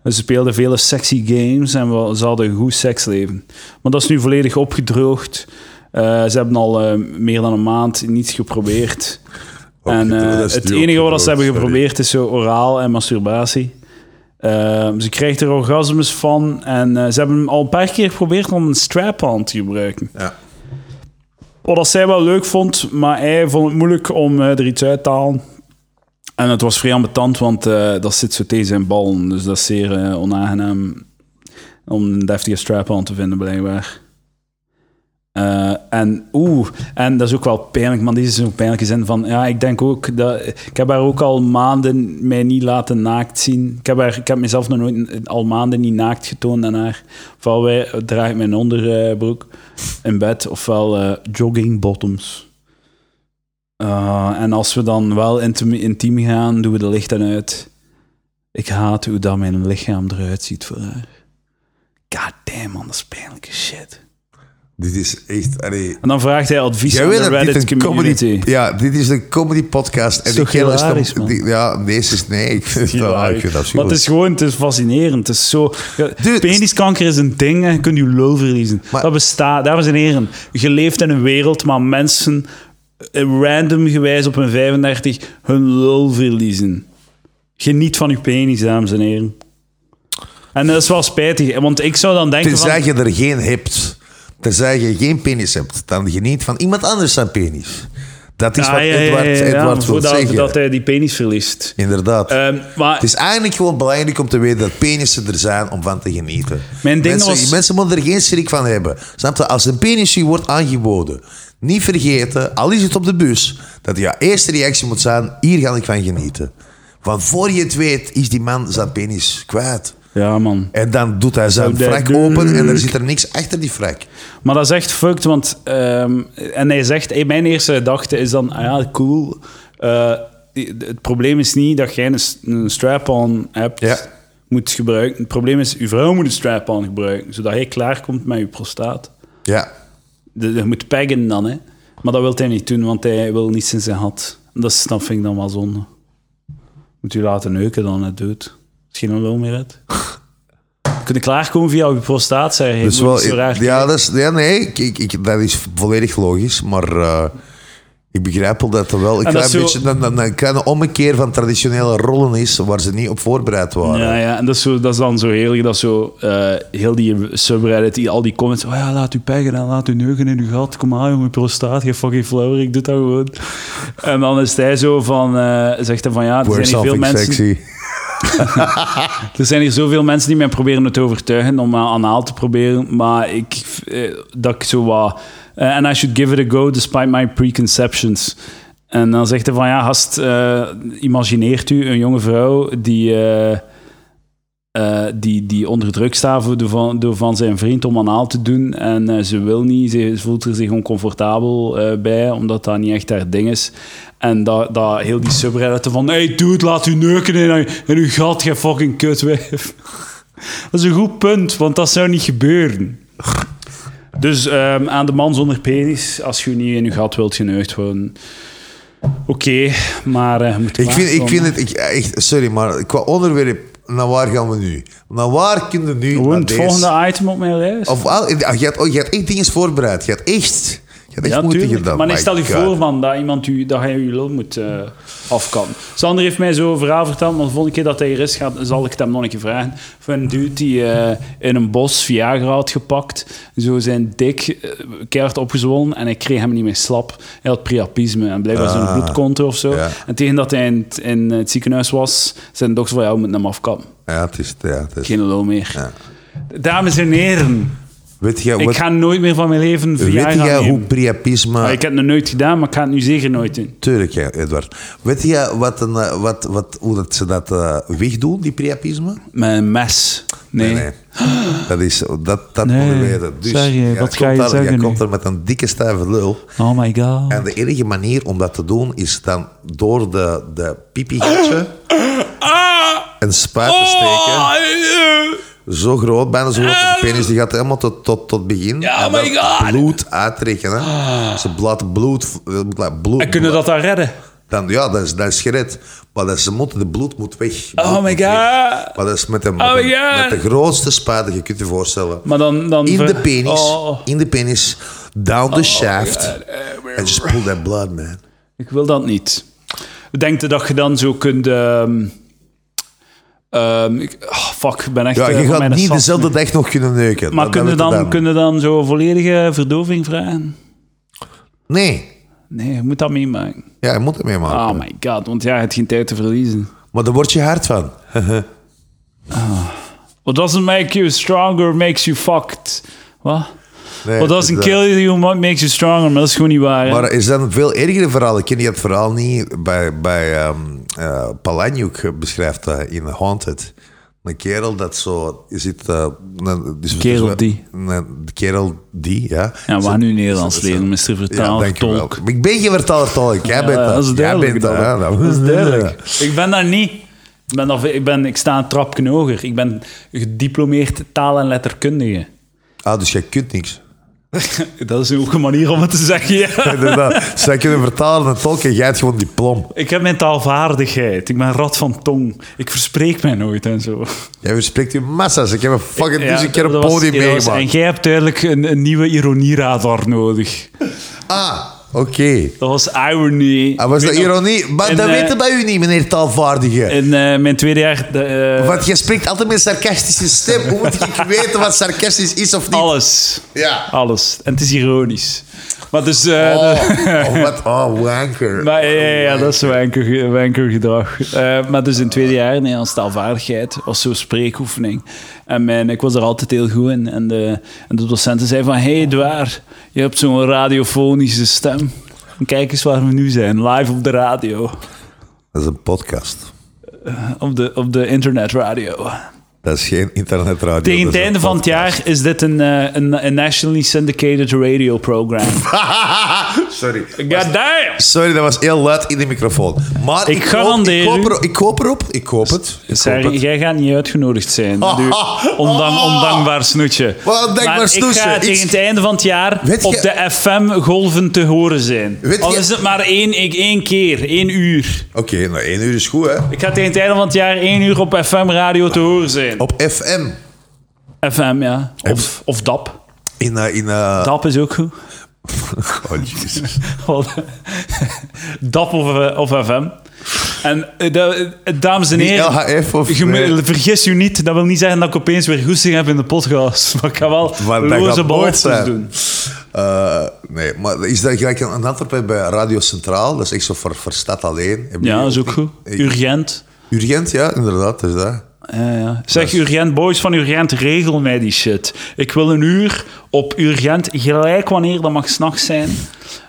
Dus Ze speelden vele sexy games en we, ze hadden een goed seksleven. Maar dat is nu volledig opgedroogd. Eh, ze hebben al eh, meer dan een maand niets geprobeerd. [laughs] Ook en niet, eh, dat is het duur enige wat opgedroogd, ze hebben sorry. geprobeerd is zo oraal en masturbatie. Eh, ze krijgt er orgasmes van en eh, ze hebben hem al een paar keer geprobeerd om een strap-on te gebruiken. Ja. Wat dat zij wel leuk vond, maar hij vond het moeilijk om eh, er iets uit te halen. En het was vrij ambetant, want eh, dat zit zo tegen zijn ballen. Dus dat is zeer eh, onaangenaam om een deftige strap-on te vinden, blijkbaar. Eh, en oeh, en dat is ook wel pijnlijk, maar dit is zo'n pijnlijke zin van... Ja, ik denk ook dat... Ik heb haar ook al maanden mij niet laten naakt zien. Ik heb, haar, ik heb mezelf nog nooit al maanden niet naakt getoond aan haar. Ofwel wij, draag ik mijn onderbroek in bed, ofwel eh, jogging bottoms. Eh, en als we dan wel intiem, intiem gaan, doen we de lichten uit. Ik haat hoe dat mijn lichaam eruit ziet voor haar. God damn, man, dat is pijnlijke shit. Dit is echt... Allee, En dan vraagt hij advies Jij aan weet de dat Reddit dit een community. comedy... Ja, dit is een comedy podcast. En Is die toch kerel dan- hilarisch, man? die- Ja, deze is... Nee, ik vind het Niet wel... waar. Ik vind dat maar het super. is gewoon, het is fascinerend. Het is zo... ja, Dude, peniskanker is een ding en je kunt je lul verliezen. Maar- dat bestaat. Dames en heren, je leeft in een wereld, maar mensen eh, random gewijs op hun 35 hun lul verliezen. Geniet van je penis, dames en heren. En dat is wel spijtig, want ik zou dan denken van... Tenzij je er geen hebt. Tenzij je geen penis hebt. Dan geniet van iemand anders zijn penis. Dat is Ah, wat ja, ja, ja, Edward, ja, Edward wil voordat- zeggen. dat hij die penis verliest. Inderdaad. Ehm, maar het is eigenlijk gewoon belangrijk om te weten dat penissen er zijn om van te genieten. Mijn ding mensen, was- mensen moeten er geen schrik van hebben. Snap je? Als een penis je wordt aangeboden, niet vergeten, al is het op de bus, dat jouw eerste reactie moet zijn, hier ga ik van genieten. Want voor je het weet, is die man zijn penis kwijt. ja, man. En dan doet hij zijn dat frak doe open en er ik. zit er niks achter die frak. Maar dat is echt fucked, want... ehm, en hij zegt... hey, mijn eerste gedachte is dan... Ah ja, cool. Eh, die- het probleem is niet dat jij een, s- een strap-on hebt... Ja. Moet gebruiken. Het probleem is, uw vrouw moet een strap-on gebruiken, zodat hij klaarkomt met uw prostaat. Ja. De, je moet peggen dan, hè. Maar dat wil hij niet doen, want hij wil niets in zijn had. Dat is, dat vind ik dan wel zonde. Moet u laten neuken dan, het doet. Misschien een lul meer [laughs] uit. We kunnen klaarkomen via uw prostaat, zei hij. Dus Moet wel, niet zo raar ja, dat is, ja, nee, ik, ik, ik- dat is volledig logisch, maar eh, ik begrijp wel dat er wel een En dat klein is zo- beetje een, een, een kleine ommekeer van traditionele rollen is waar ze niet op voorbereid waren. Ja, ja, en dat is, zo, dat is dan zo heerlijk, dat is zo eh, heel die subreddit, die, al die comments, oh ja, laat u peggen en laat u neugen in uw gat, kom aan jongen, prostaat, je fucking flower, ik doe dat gewoon. En dan is hij zo van, eh, zegt hij van ja, er Wear zijn, hier veel something mensen, sexy. er zijn hier zoveel mensen die mij proberen het te overtuigen om aan anaal te proberen, maar ik, eh, dat ik zo wat, en and I should give it a go despite my preconceptions. En dan zegt hij van ja, gast, eh, imagineert u een jonge vrouw die... eh, eh, die, die onder druk staat voor de van, door van zijn vriend om anaal te doen. En eh, ze wil niet, ze voelt er zich oncomfortabel eh, bij, omdat dat niet echt haar ding is. En dat, dat heel die subreddit van, hey dude, laat u neuken in, uw- in uw gat, je fucking kutwijf. [laughs] dat is een goed punt, want dat zou niet gebeuren. Dus ehm, aan de man zonder penis, als je niet in uw gat wilt geneukt worden. Oké, maar eh, je moet Ik vind, ik klaarkomen. vind het, ik, echt, sorry, maar qua onderwerp, naar waar gaan we nu? Naar waar kunnen we nu? Gewoon naar het Ah, deze- volgende item op mijn lijst. Of, al- je, had, oh, je had echt dingen voorbereid. Je had echt, je had echt moeite tuurlijk. gedaan. Maar nee, My stel je God. voor, man, dat, iemand u, dat hij je lul moet eh afkappen. Sander heeft mij zo een verhaal verteld, maar de volgende keer dat hij hier is, gaat, zal ik het hem nog een keer vragen. Van een dude die eh, in een bos Viagra had gepakt, zo zijn dik eh, keihard opgezwollen en hij kreeg hem niet meer slap. Hij had priapisme en blijkbaar Ah. zo'n bloedkonto of zo. Ja. En tegen dat hij in, het- in het ziekenhuis was, zijn dokter van, ja, we moeten hem afkappen. Ja, het is... Ja, het is. Geen lul meer. Dames en heren, Weet jij, ik wat, ga nooit meer van mijn leven weet Viagra jij nemen. hoe priapisme... Maar ik heb het nog nooit gedaan, maar ik ga het nu zeker nooit doen. Tuurlijk, ja, Edward. Weet je wat een, eh, wat, wat, hoe dat ze dat eh, wegdoen, die priapisme? Met een mes. Nee. [gasps] Dat is, dat, dat Nee, moet je weten. Dus, sorry, jij wat komt ga je daar- zeggen Jij nu? komt er met een dikke stijve lul. Oh my god. En de enige manier om dat te doen is dan door de, de pipigatje Ah! een spuit te Oh! steken. Zo groot, bijna zo groot als een penis. Die gaat helemaal tot, tot, tot begin. Ja, en oh dan my God. Ah. bloed uittrekken. Hè. Ze blaat bloed, blaat bloed. En kunnen dat dan redden? Dan, ja, dat is, dat is gered. Maar dat ze moeten, de bloed moet weg. Bloed Oh my moet weg. god. Maar dat is met, een, Oh met, een- my God. met de grootste spuit dat je kunt je voorstellen. Maar dan... dan In ver- de penis. Oh. In de penis. Down the shaft. And just pull that blood, man. Ik wil dat niet. Denk je dat je dan zo kunt... ehm, ehm, ik- ah, fuck, ik ben echt... Ja, eh, je van gaat mijn niet sap dezelfde nu. dag nog kunnen neuken. Maar Dat- kunnen dan, dat weet dan. ik Kun je dan zo volledige verdoving vragen? Nee. Nee, je moet dat meemaken. Ja, je moet ermee maken. Oh my god, want ja, je hebt geen tijd te verliezen. Maar daar word je hard van. What doesn't make you stronger makes you fucked. Wat? Nee, What doesn't dat- kill you what makes you stronger, maar dat is gewoon niet waar. hè? eh, Maar er zijn veel ergere verhalen. Ken je het verhaal niet? Bij, bij ehm eh, Palahniuk beschrijft dat in eh, Haunted. Een kerel dat zo zit. eh, een- dus- Kerel dus- die. Een kerel die, ja. Ja, we gaan nu Nederlands leren, Mr. Ja, Vertaler, dankjewel. tolk. Ik ben geen vertaler tolk. Jij bent dat. dat is Jij duidelijk. bent dat. ja, dat, [laughs] is duidelijk. Ik ben daar niet. Ik, ben daar- ik, ben, ik sta een trapje hoger. Ik ben gediplomeerd taal- en letterkundige. [laughs] Ah, dus jij kunt niks. Dat is ook een manier om het te zeggen. [laughs] ja. Inderdaad. Zij kunnen vertalen en tolken. Jij hebt gewoon diploma. Ik heb mijn taalvaardigheid. Ik ben rat van tong. Ik verspreek mij nooit en zo. Jij verspreekt je massa's. dus Ik heb een fucking Ja, duizend keer een dat was- podium ja, dat was- meegemaakt. En jij hebt duidelijk een, een nieuwe ironieradar nodig. Ah, oké. Dat was irony. Ah, was dat ironie? Maar En, dat eh, weten bij u niet, meneer taalvaardige. In eh, mijn tweede jaar... de, eh, Want je spreekt altijd met een sarcastische stem. Hoe moet [laughs] ik weten wat sarcastisch is of niet? alles. Ja. Alles. En het is ironisch. Maar dus... eh, Oh, de- [laughs] oh, wat? Oh, wanker. Maar ja, ja, ja, dat is wanker, wanker gedrag. Eh, maar dus in het tweede jaar, Nederlands taalvaardigheid, was zo'n spreekoefening. En mijn, ik was er altijd heel goed in. En de, en de docenten zeiden van, hey Edouard, je hebt zo'n radiofonische stem. En kijk eens waar we nu zijn, live op de radio. Dat is een podcast. Op de, op de internetradio. Dat is geen internetradio. Tegen het dat is einde een van het podcast. jaar is dit een, eh, een, een nationally syndicated radio program. [laughs] Sorry. Goddamn! Sorry, dat was heel luid in de microfoon. Maar Ik garandeer Ik hoop, u- er- ik hoop erop. Ik hoop het. Ik hoop Sarah, het. jij gaat niet uitgenodigd zijn. Ah, nu. ah, ondank, ah. ondankbaar snoetje. Wat een dankbaar maar snoetje. Ik ga Iets- tegen het einde van het jaar Weet op je- de FM-golven te horen zijn. Weet Al je- is het maar één, ik, één keer, één uur. Oké, nou één uur is goed, hè. Ik ga tegen het einde van het jaar één uur op FM-radio te horen zijn. Op FM. FM, ja. Of, of DAP. In, eh, in eh, [laughs] DAP is ook goed. Oh, jezus. [laughs] Wat- DAP of, eh, of FM. En eh, da- eh, dames en Niet heren... LHF of... eh, Je nee. moet- Vergis u niet, dat wil niet zeggen dat ik opeens weer goesting heb in de podcast. [laughs] Maar ik ga wel Maar dat gaat loze nooit beloftes zijn. doen. Eh, nee, maar is dat gelijk een, een Antwerpen bij Radio Centraal? Dat is echt zo voor, voor stad alleen. Heb Ja, je- dat is ook goed. Ik- Urgent. Urgent, ja, inderdaad. Dus dat. Ja, ja. Zeg, Urgent Boys van Urgent, regel mij die shit. Ik wil een uur op Urgent, gelijk wanneer dat mag s'nachts zijn.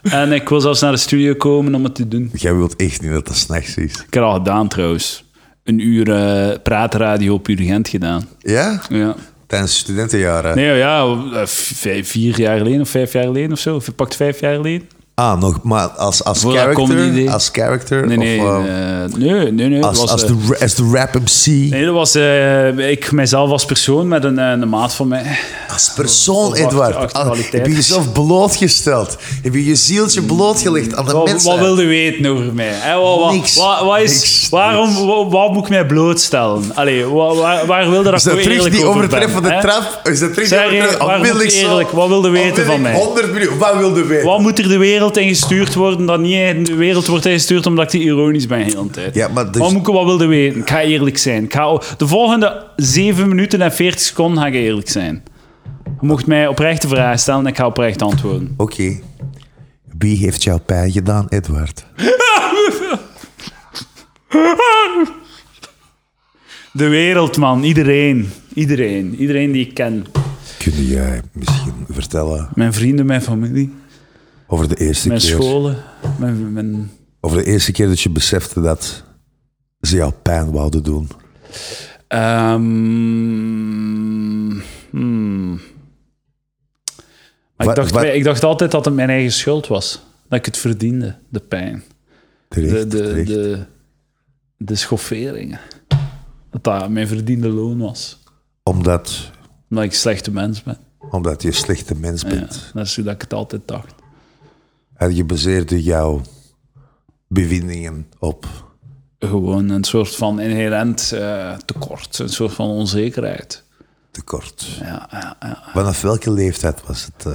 En ik wil zelfs naar de studio komen om het te doen. Jij wilt echt niet dat dat s'nachts is. Ik heb dat al gedaan trouwens. Een uur eh, praatradio op Urgent gedaan. Ja? Ja. Tijdens studentenjaren. Nee, ja, eh, vijf- vier jaar geleden of vijf jaar geleden of zo. Of je pakt vijf jaar geleden. Ah, nog, maar als, als Voor dat comedy character? idee. Als character? Nee, nee, of, eh, eh, nee, nee, nee. als, dat was, als, eh, de, ra- als de rap MC? Nee, dat was eh, ik mijzelf als persoon met een, eh, een maat van mij. Als persoon, Of achter- Edward. achter Al- kwaliteit. heb je jezelf blootgesteld? Heb je je zieltje blootgelegd aan de Wat, mensen? wat wil je weten over mij? Hè, wat, wat, Niks. wat- wat is, Niks, waarom niks. wa- waar moet ik mij blootstellen? Allee, wa- waar, waar wilde dat Is dat ik terug eerlijk Dus die over overtreffende ben, hè? trap? Is dat terug Zeg, die overtreffende waar Al wil moet ik je zo- eerlijk? Wat wil je al weten wil van ik mij? 100 miljoen. Wat wil je weten? Wat moet er de wereld in gestuurd worden dat niet in de wereld wordt ingestuurd omdat ik die ironisch ben de hele tijd? Ja, maar dus- Wat moet ik wat wilde weten? Ik ga eerlijk zijn. Ik ga, de volgende 7 minuten en 40 seconden ga ik eerlijk zijn. Je mocht mij oprechte vragen stellen en ik ga oprecht antwoorden. Oké. Wie heeft jouw pijn gedaan, Edward? De wereld, man. Iedereen. Iedereen. Iedereen die ik ken. Kun jij misschien vertellen Mijn vrienden, mijn familie, over de eerste mijn keer? scholen. Mijn, mijn... Over de eerste keer dat je besefte dat ze jou pijn wouden doen. Ehm, hmm. Maar Wat- ik, dacht, wat- bij- ik dacht altijd dat het mijn eigen schuld was. Dat ik het verdiende, de pijn. Terecht, De, de, terecht. de, de schofferingen. Dat dat mijn verdiende loon was. Omdat, Omdat ik een slechte mens ben. omdat je een slechte mens Ja, bent. dat is hoe dat ik het altijd dacht. En je baseerde jouw bevindingen op. gewoon een soort van inherent eh, tekort, een soort van onzekerheid. tekort. Ja, ja, ja. Vanaf welke leeftijd was het? eh?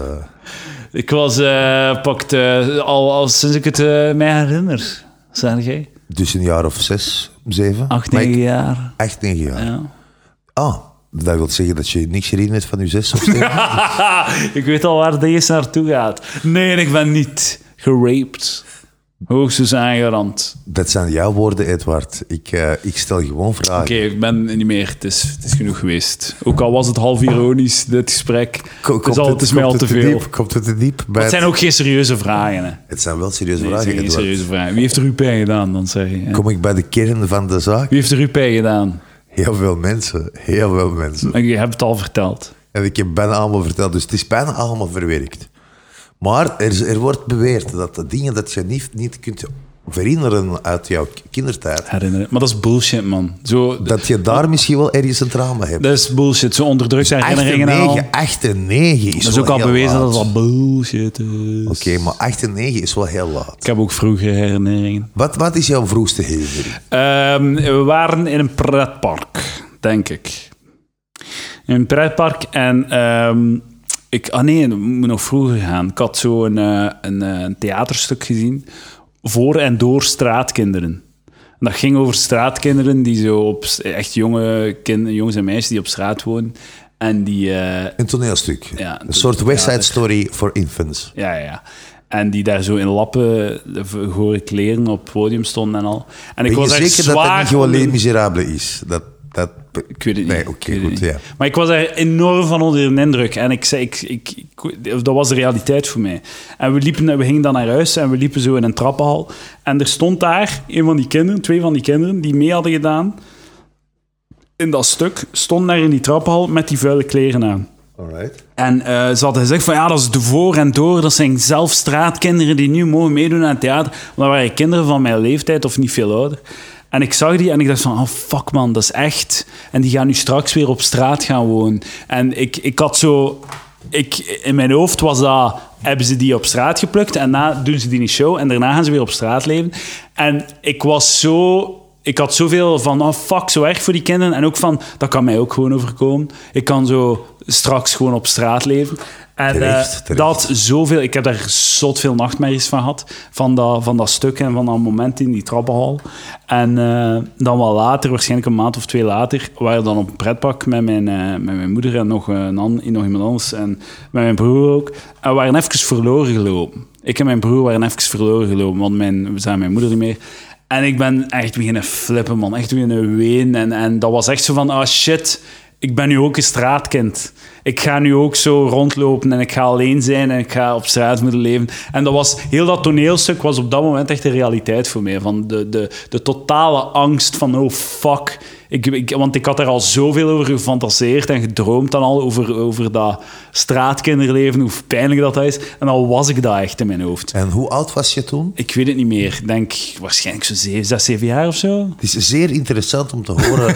Ik was eh pakt eh, al, al sinds ik het eh, mij herinner, zijn jij? dus een jaar of zes, zeven? Acht, Maar ik- negen jaar. Acht, negen jaar. Ja. Ah, dat wil zeggen dat je niks herinnert van je zes of zeven? ik weet al waar deze naartoe gaat. Nee, ik ben niet geraped. Hoogstens aangerand. dat zijn jouw woorden, Edward. Ik, eh, ik stel gewoon vragen. Oké, ik ben niet meer. Het is, het is genoeg geweest. Ook al was het half ironisch, dit gesprek. Ko- het, is al, het is mij komt al te het veel. diep? Komt het te diep? bij Het het, zijn ook geen serieuze vragen. Hè. het zijn wel serieuze Nee, het vragen, zijn geen Edward. serieuze vragen. Wie heeft er uw pijn gedaan, dan zeg je. hè? Kom ik bij de kern van de zaak? Wie heeft er uw pijn gedaan? Heel veel mensen. Heel veel mensen. En je hebt het al verteld. En ik heb bijna allemaal verteld. Dus het is bijna allemaal verwerkt. Maar er, is- er wordt beweerd dat de dingen dat je niet, niet kunt verinneren uit jouw k- kindertijd, Herinneren. Maar dat is bullshit, man. Zo, dat, dat je daar misschien wel ergens een trauma hebt. is bullshit. Zo onderdrukte herinneringen en al. 8 en 9, 8 en 9 is Dat is wel ook al heel bewezen laat. dat dat bullshit is. Oké, maar 8 en 9 is wel heel laat. Ik heb ook vroeger herinneringen. Wat, wat is jouw vroegste herinnering? Ehm, we waren in een pretpark, denk ik. In een pretpark en ehm, ik, ah nee, dat moet nog vroeger gaan. Ik had zo een, eh, een, eh, een theaterstuk gezien voor en door straatkinderen. En dat ging over straatkinderen die zo op s- echt jonge kind, jongens en meisjes die op straat wonen en die eh, Een toneelstuk. Ja, een soort West Side theater. Story for infants. Ja, ja, ja. En die daar zo in lappen, gore kleren op het podium stonden en al. En ik Ben je was echt zeker dat dat zwaar niet gewoon onder- Les Miserables is? Dat, dat... Ik weet het niet. Nee, oké, Ik weet het goed, niet. ja. Maar ik was daar enorm van onder de indruk. En ik zei, ik, ik, ik- dat was de realiteit voor mij. En we, liepen, we gingen dan naar huis en we liepen zo in een trappenhal. En er stond daar een van die kinderen, twee van die kinderen, die mee hadden gedaan in dat stuk, stonden daar in die trappenhal met die vuile kleren aan. Alright. En eh, ze hadden gezegd van ja, dat is de voor en door. Dat zijn zelf straatkinderen die nu mogen meedoen aan het theater. Want dat waren kinderen van mijn leeftijd of niet veel ouder. En ik zag die en ik dacht van, oh fuck man, dat is echt. En die gaan nu straks weer op straat gaan wonen. En ik, ik had zo... Ik, in mijn hoofd was dat, hebben ze die op straat geplukt en daarna doen ze die een show en daarna gaan ze weer op straat leven. En ik was zo ik had zoveel van, oh fuck, zo erg voor die kinderen. En ook van, dat kan mij ook gewoon overkomen. Ik kan zo straks gewoon op straat leven. En eh, Terecht, terecht. dat zoveel... Ik heb daar zot veel nachtmerries van gehad. Van dat, van dat stuk en van dat moment in die trappenhal. En eh, dan wel later, waarschijnlijk een maand of twee later... waren we dan op een pretpark met mijn, eh, met mijn moeder en nog, een an- nog iemand anders. En met mijn broer ook. En we waren even verloren gelopen. Ik en mijn broer waren even verloren gelopen. Want mijn, we zagen mijn moeder niet meer. En ik ben echt beginnen flippen, man. Echt beginnen ween. En, en dat was echt zo van, ah shit, ik ben nu ook een straatkind. Ik ga nu ook zo rondlopen en ik ga alleen zijn en ik ga op straat moeten leven. En dat was, heel dat toneelstuk was op dat moment echt de realiteit voor mij. Van de, de, de totale angst van, oh fuck. Ik, ik, want ik had daar al zoveel over gefantaseerd en gedroomd dan al over, over dat straatkinderleven, hoe pijnlijk dat, dat is. En dan was ik dat echt in mijn hoofd. En hoe oud was je toen? Ik weet het niet meer. Ik denk waarschijnlijk zo'n 7, 6, 7 jaar of zo. Het is zeer interessant om te [laughs] horen.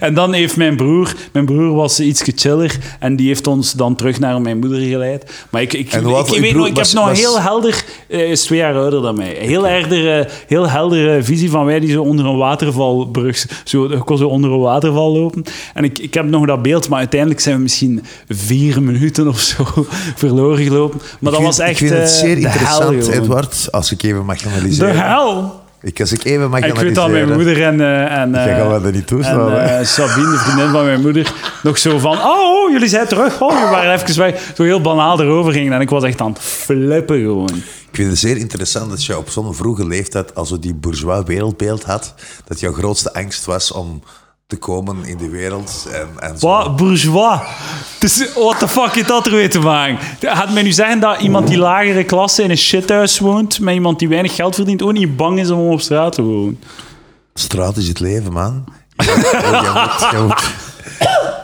En dan heeft mijn broer... Mijn broer was iets chiller en die heeft ons dan terug naar mijn moeder geleid. Maar ik, ik, En hoe oud- ik, uw weet broer nog, ik heb was- nog was- heel helder... eh, is twee jaar ouder dan mij. Heel, heldere, heel heldere visie van wij die zo onder een watervalbrug... Zo, ik kon zo onder een waterval lopen. En ik, ik heb nog dat beeld, maar uiteindelijk zijn we misschien vier minuten of zo [laughs] verloren gelopen. Maar dat Ik was vind- echt Ik vind het eh, zeer de hel, interessant, jongen. Edward, als ik even mag De analyseren. hel! Ik, als ik even mag En ik weet dat analyseren. mijn moeder en... eh en Jij eh, gaat mij dat niet toestaan, En, hè? eh, Sabine, de vriendin van mijn moeder, nog zo van... Oh, oh, jullie zijn terug. Oh, we waren even weg. Zo heel banaal erover gingen. En ik was echt aan het flippen gewoon. Ik vind het zeer interessant dat je op zo'n vroege leeftijd, als je die bourgeois wereldbeeld had, dat jouw grootste angst was om te komen in de wereld. En, en zo. Wat? Bourgeois? Dus, what the fuck heeft dat er weer te maken? Gaat men nu zeggen dat iemand die lagere klasse in een shithuis woont, met iemand die weinig geld verdient, ook niet bang is om op straat te wonen? Straat is het leven, man. Je, je moet, je moet,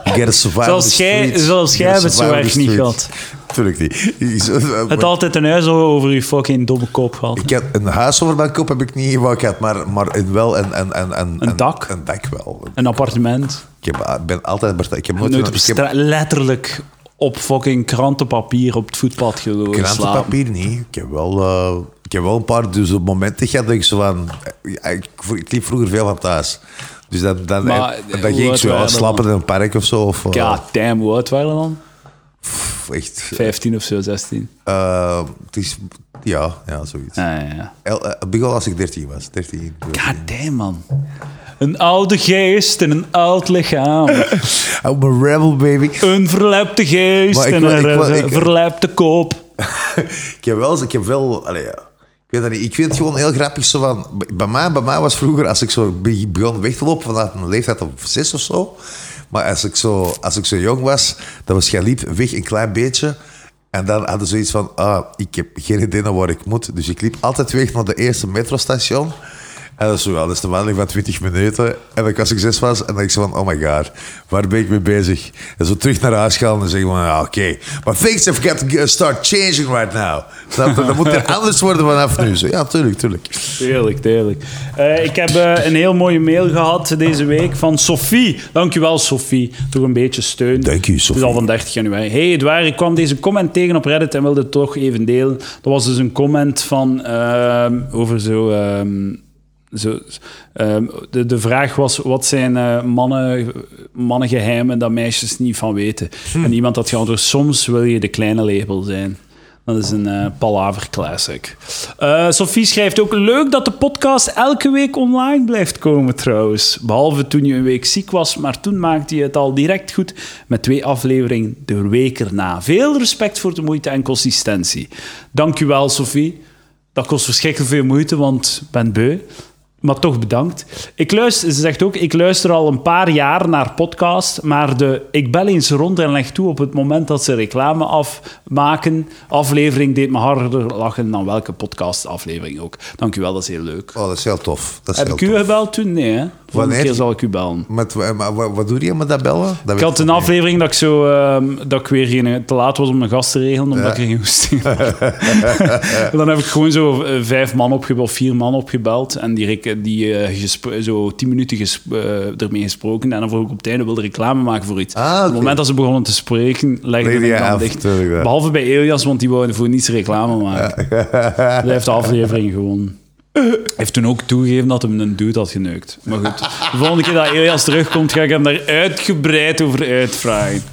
you gotta survive Zoals the jij- streets. zoals You jij gotta hebt het zo survive the erg niet streets. Tuurlijk niet. Is- Het altijd een huis over je fucking domme kop gehad. Ik heb een huis over mijn kop heb ik niet wou ik had, maar, maar een wel een, een, een, een, dak? Een dak wel. Een appartement. Ik heb, ben altijd... Ik heb nooit... Nooit op ik heb- straat, letterlijk op fucking krantenpapier op het voetpad gelopen. slapen. Krantenpapier niet. Ik heb wel, eh, ik heb wel een paar dus op momenten gehad dat ik zo van... Ik, ik liep vroeger veel van thuis. Dus dan, dan, Maar, eh, en- en hoe dan ging ik oud zo waren ja, dat slapen in een park of zo. Of, eh, God damn, hoe oud waren we dan? pff, echt. 15 of zo, 16. eh, het is, ja, ja, zoiets. Ah, ja, ja. El- eh, Het begon als ik 13 was. 13, 14. God damn, man. Een oude geest en een oud lichaam. [laughs] I'm a Oh, rebel, baby. Een verlepte geest Maar ik en wil- een ik wil- re- ik- verlepte kop. [laughs] ik heb wel, eens- ik heb wel, allee, ja. ik weet dat niet. Ik vind het gewoon heel grappig zo van, bij mij, bij mij was vroeger als ik zo be- begon weg te lopen vanaf een leeftijd op zes of zo, maar als ik zo, als ik zo jong was, dan was jij liep weg een klein beetje. En dan hadden ze zoiets van, ah, ik heb geen idee naar waar ik moet. Dus ik liep altijd weg naar de eerste metrostation. En En dat is zo wel, dat is de wandeling van 20 minuten. En dat ik als ik zes was, en dat ik zo van, oh my god, waar ben ik mee bezig? En zo terug naar huis gaan en zeggen van, ja, oké, maar things have got to start changing right now. Snap je? Dat moet er anders worden vanaf nu. Zo, ja, tuurlijk, tuurlijk. Tuurlijk, tuurlijk. Eh, ik heb eh, een heel mooie mail gehad deze week van Sophie. Dankjewel, Sophie. Toch een beetje steun. Dank u, Het Sophie. is al van 30 januari. Hey Edouard, ik kwam deze comment tegen op Reddit en wilde het toch even delen. Dat was dus een comment van, ehm, over zo... ehm, zo, ehm, de, de vraag was, wat zijn eh, mannen, mannengeheimen dat meisjes niet van weten? En iemand had geantwoord, soms wil je de kleine label zijn. Dat is een eh palaver classic. Eh, Sophie schrijft ook, leuk dat de podcast elke week online blijft komen trouwens. Behalve toen je een week ziek was, maar toen maakte je het al direct goed met twee afleveringen de week erna. Veel respect voor de moeite en consistentie. Dankjewel Sophie. Dat kost verschrikkelijk veel moeite, want ik ben beu. Maar toch bedankt. Ik luister, ze zegt ook, ik luister al een paar jaar naar podcast, maar de ik bel eens rond en leg toe op het moment dat ze reclame afmaken. Aflevering deed me harder lachen dan welke podcastaflevering ook. Dankjewel, dat is heel leuk. Oh, dat is heel tof. Dat is Heb heel ik u tof. gebeld toen? Nee, hè? Volgende Wanneer? keer zal ik u bellen. Met, wa- maar wa- wat doe je met dat bellen? Dat weet Ik had ik een niet. aflevering dat ik, zo, ehm, dat ik weer geen, te laat was om een gast te regelen, omdat ik er geen hoesting had. En [laughs] dan heb ik gewoon zo eh, vijf man opgebeld, vier man opgebeld. En die, rec- die eh, gespro- zo tien minuten ges- eh, ermee gesproken. En dan vroeg ik op het einde, wilde reclame maken voor iets. Ah, oké. Op het moment dat ze begonnen te spreken, legde Legde ik jij dan af, dicht. tuurlijk, ja. Behalve bij Elias, want die wou voor niets reclame maken. Hij heeft de aflevering gewonnen. Hij heeft toen ook toegegeven dat hem een dude had geneukt. Maar goed, de volgende keer dat Elias terugkomt, ga ik hem daar uitgebreid over uitvragen.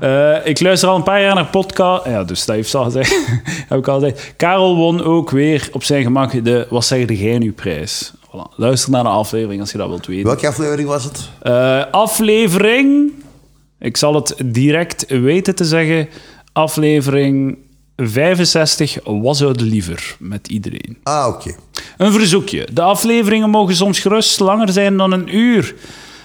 Eh, ik luister al een paar jaar naar podcast. Ja, dus dat heeft al gezegd. [laughs] Heb ik al gezegd. Karel won ook weer op zijn gemak de Wat zeggen jij nu prijs? Voilà. Luister naar de aflevering als je dat wilt weten. Welke aflevering was het? Eh, aflevering. Ik zal het direct weten te zeggen. Aflevering 65 was het liever met iedereen. Ah, oké. Een verzoekje. De afleveringen mogen soms gerust langer zijn dan een uur.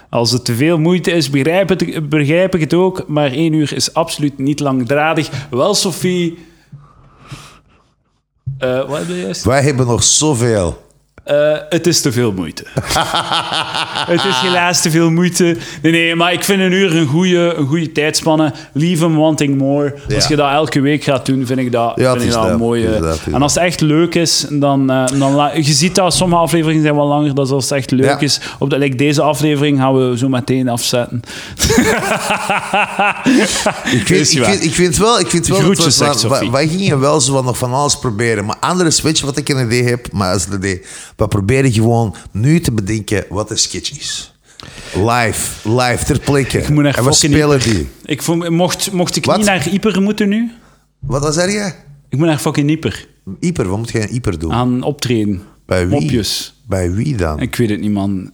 Als het te veel moeite is, begrijp, het, begrijp ik het ook. Maar één uur is absoluut niet langdradig. Wel, Sophie. Eh, wat heb je juist? Wij hebben nog zoveel. Eh, het is te veel [laughs] moeite. het is helaas te veel moeite. Nee, nee, maar ik vind een uur een goede, een goede tijdspanne. Leave them wanting more. Als Ja. je dat elke week gaat doen, vind ik dat, Ja, vind het ik is dat dat. een mooie. Het is dat, het is en als het echt leuk is, dan, eh, dan la- je ziet dat sommige afleveringen zijn wel langer. Dat is als het echt leuk Ja. is. Op de, like deze aflevering gaan we zo meteen afzetten. [laughs] Ik vind, Is ik, waar. vind, ik vind wel, ik vind wel Groetjes, dat zegt we- wa- Sophie. wij gingen wel zo wat nog van alles proberen. Maar anders, weet je wat ik een idee heb? Maar als een idee, we proberen gewoon nu te bedenken wat een sketch is. Live, live, ter plekke. Ik moet naar en we fucking spelen Ieper. die. Ik vond- mocht, mocht ik Wat? niet naar Ieper moeten nu? Wat was er je? Ik moet naar fucking Ieper Ieper, wat moet jij een Ieper doen? aan optreden. Bij wie? Ah, Mopjes. Bij wie dan? Ik weet het niet, man.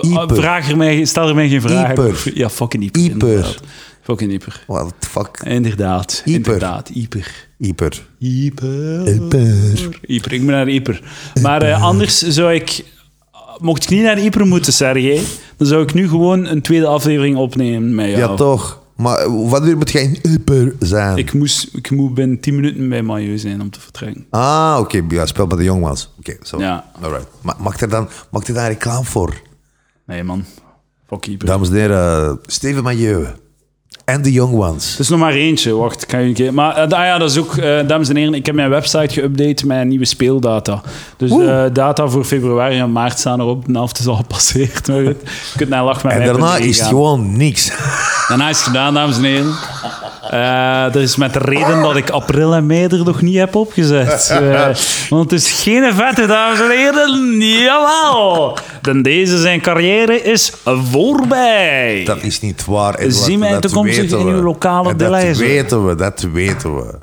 Ieper. Vraag er mij, stel er mij geen vraag. Ieper. Ja, fucking Ieper. Ieper. inderdaad. Fucking Ieper. What the fuck? Inderdaad. Ieper. Inderdaad. Ieper. Ieper. Ieper. Ieper. Ieper. Ik moet naar Ieper. Maar eh, anders zou ik... Mocht ik niet naar Ieper moeten, Sergej, dan zou ik nu gewoon een tweede aflevering opnemen met jou. Ja, toch. Maar wanneer moet jij een Ieper zijn? Ik, moest, ik moet binnen 10 minuten bij Mailleu zijn om te vertrekken. Ah, oké. Ja, speel bij de jongmans. Oké, zo. Ja. Alright. Ma mag er dan, mag er dan reclame voor? Nee, man. Fuck Ieper. Dames en heren, Steven Majeu en de Young Ones. Er is nog maar eentje, wacht, kan je een keer. Maar eh, ah ja, dat is ook, eh, dames en heren, ik heb mijn website geüpdate met nieuwe speeldata. Dus eh data voor februari en maart staan erop. De helft is al gepasseerd. Maar goed, je kunt naar lach met En mij daarna punt is het gaan. gewoon [laughs] niks. Daarna is het gedaan, dames en heren. Eh, dat is met de reden dat ik april en mei er nog niet heb [laughs] opgezet. Eh, want het is geen vette, dames en heren. Jawel! Dan deze zijn carrière is voorbij. Dat is niet waar. Edward. Zie mij Dat toekomstig weten in we. uw lokale En Dat deleizer. weten we, dat weten we.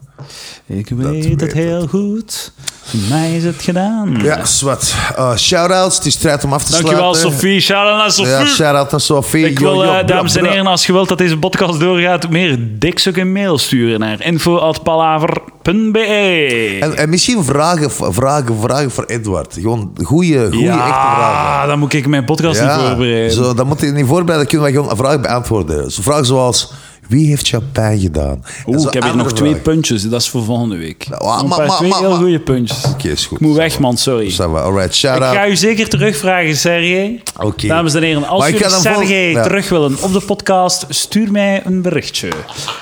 Ik weet weet het ik. Mm. heel goed. Voor mij is het gedaan. Ja, zwart. Eh, shout-outs, het is tijd om af te Dankjewel, sluiten. Sophie. Shout-out naar Ja, Sophie. shout-out naar Sophie. ik wil, eh, dames en heren, als je wilt dat deze podcast doorgaat, meer dikzoek een mail sturen naar info.palaver.be. En, en misschien vragen, vragen, vragen voor Edward. Gewoon goede, goede, echte vragen. Ja, dan moet ik mijn podcast niet voorbereiden. Zo, dat moet je niet voorbereiden. Dan kunnen wij gewoon vragen beantwoorden. Zo, vragen zoals... Wie heeft champagne gedaan? Oeh, ik heb hier er nog twee puntjes. Dat is voor volgende week. Nou, ah, Nog een maar- paar, maar- twee maar- heel maar- goede puntjes. Oké, is goed. Ik moet weg, man. Sorry. Ça va. Alright, shout Ik out. ga u zeker terugvragen, Sergej. Oké. Dames en heren, als Maar ik jullie ga dan vol- Sergej Ja. terug willen op de podcast, stuur mij een berichtje.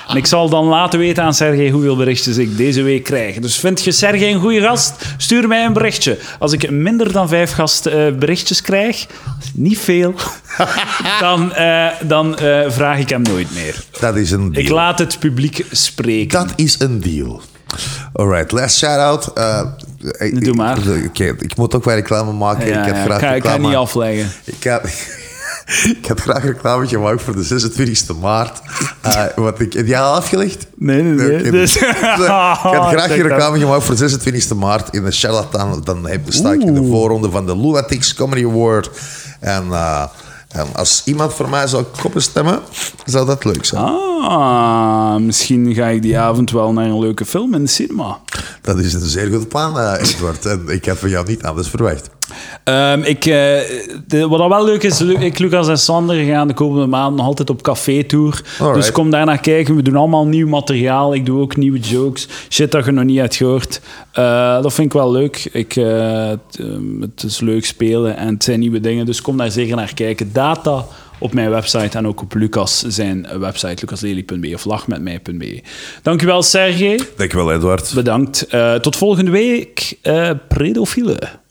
En ik zal dan laten weten aan Sergej hoeveel berichtjes ik deze week krijg. Dus vind je Sergej een goede gast, stuur mij een berichtje. Als ik minder dan vijf gast eh, berichtjes krijg, niet veel, [laughs] dan, eh, dan eh, vraag ik hem nooit meer. Dat is een deal. Ik laat het publiek spreken. Dat is een deal. Alright, last shout-out. Eh, ik- Doe maar. Oké, ik moet ook wel reclame maken. Ja, ik had ja, graag ik ga, ik ga reclame. niet afleggen. Ik had, [laughs] ik had graag een reclame gemaakt voor de 26 e maart. Eh, wat ik, heb jij al afgelegd? Nee, nee, nee. Oké. Dus- [laughs] ik [laughs] had graag een Check dat. reclame gemaakt voor de 26 e maart in de Charlatan. Dan heb, sta ik in de voorronde van de Lunatics Comedy Award. En, eh, en als iemand voor mij zou koppen stemmen, zou dat leuk zijn. Ah, misschien ga ik die avond wel naar een leuke film in de cinema. Dat is een zeer goed plan, eh, Edward. En ik had van jou niet anders verwacht. Ehm, ik, eh, de- wat al wel leuk is, Lu- ik, Lucas en Sander gaan de komende maand nog altijd op café-tour. Alright. Dus kom daarna kijken. We doen allemaal nieuw materiaal. Ik doe ook nieuwe jokes. Shit dat je nog niet hebt gehoord. Eh, dat vind ik wel leuk. Ik, eh, het, ehm, het is leuk spelen en het zijn nieuwe dingen. Dus kom daar zeker naar kijken. Data op mijn website en ook op Lucas zijn website. lucaslely.be of lachmetmij.be. Dankjewel, Sergej. Dankjewel, Edward. Bedankt. Eh, tot volgende week. eh predofielen.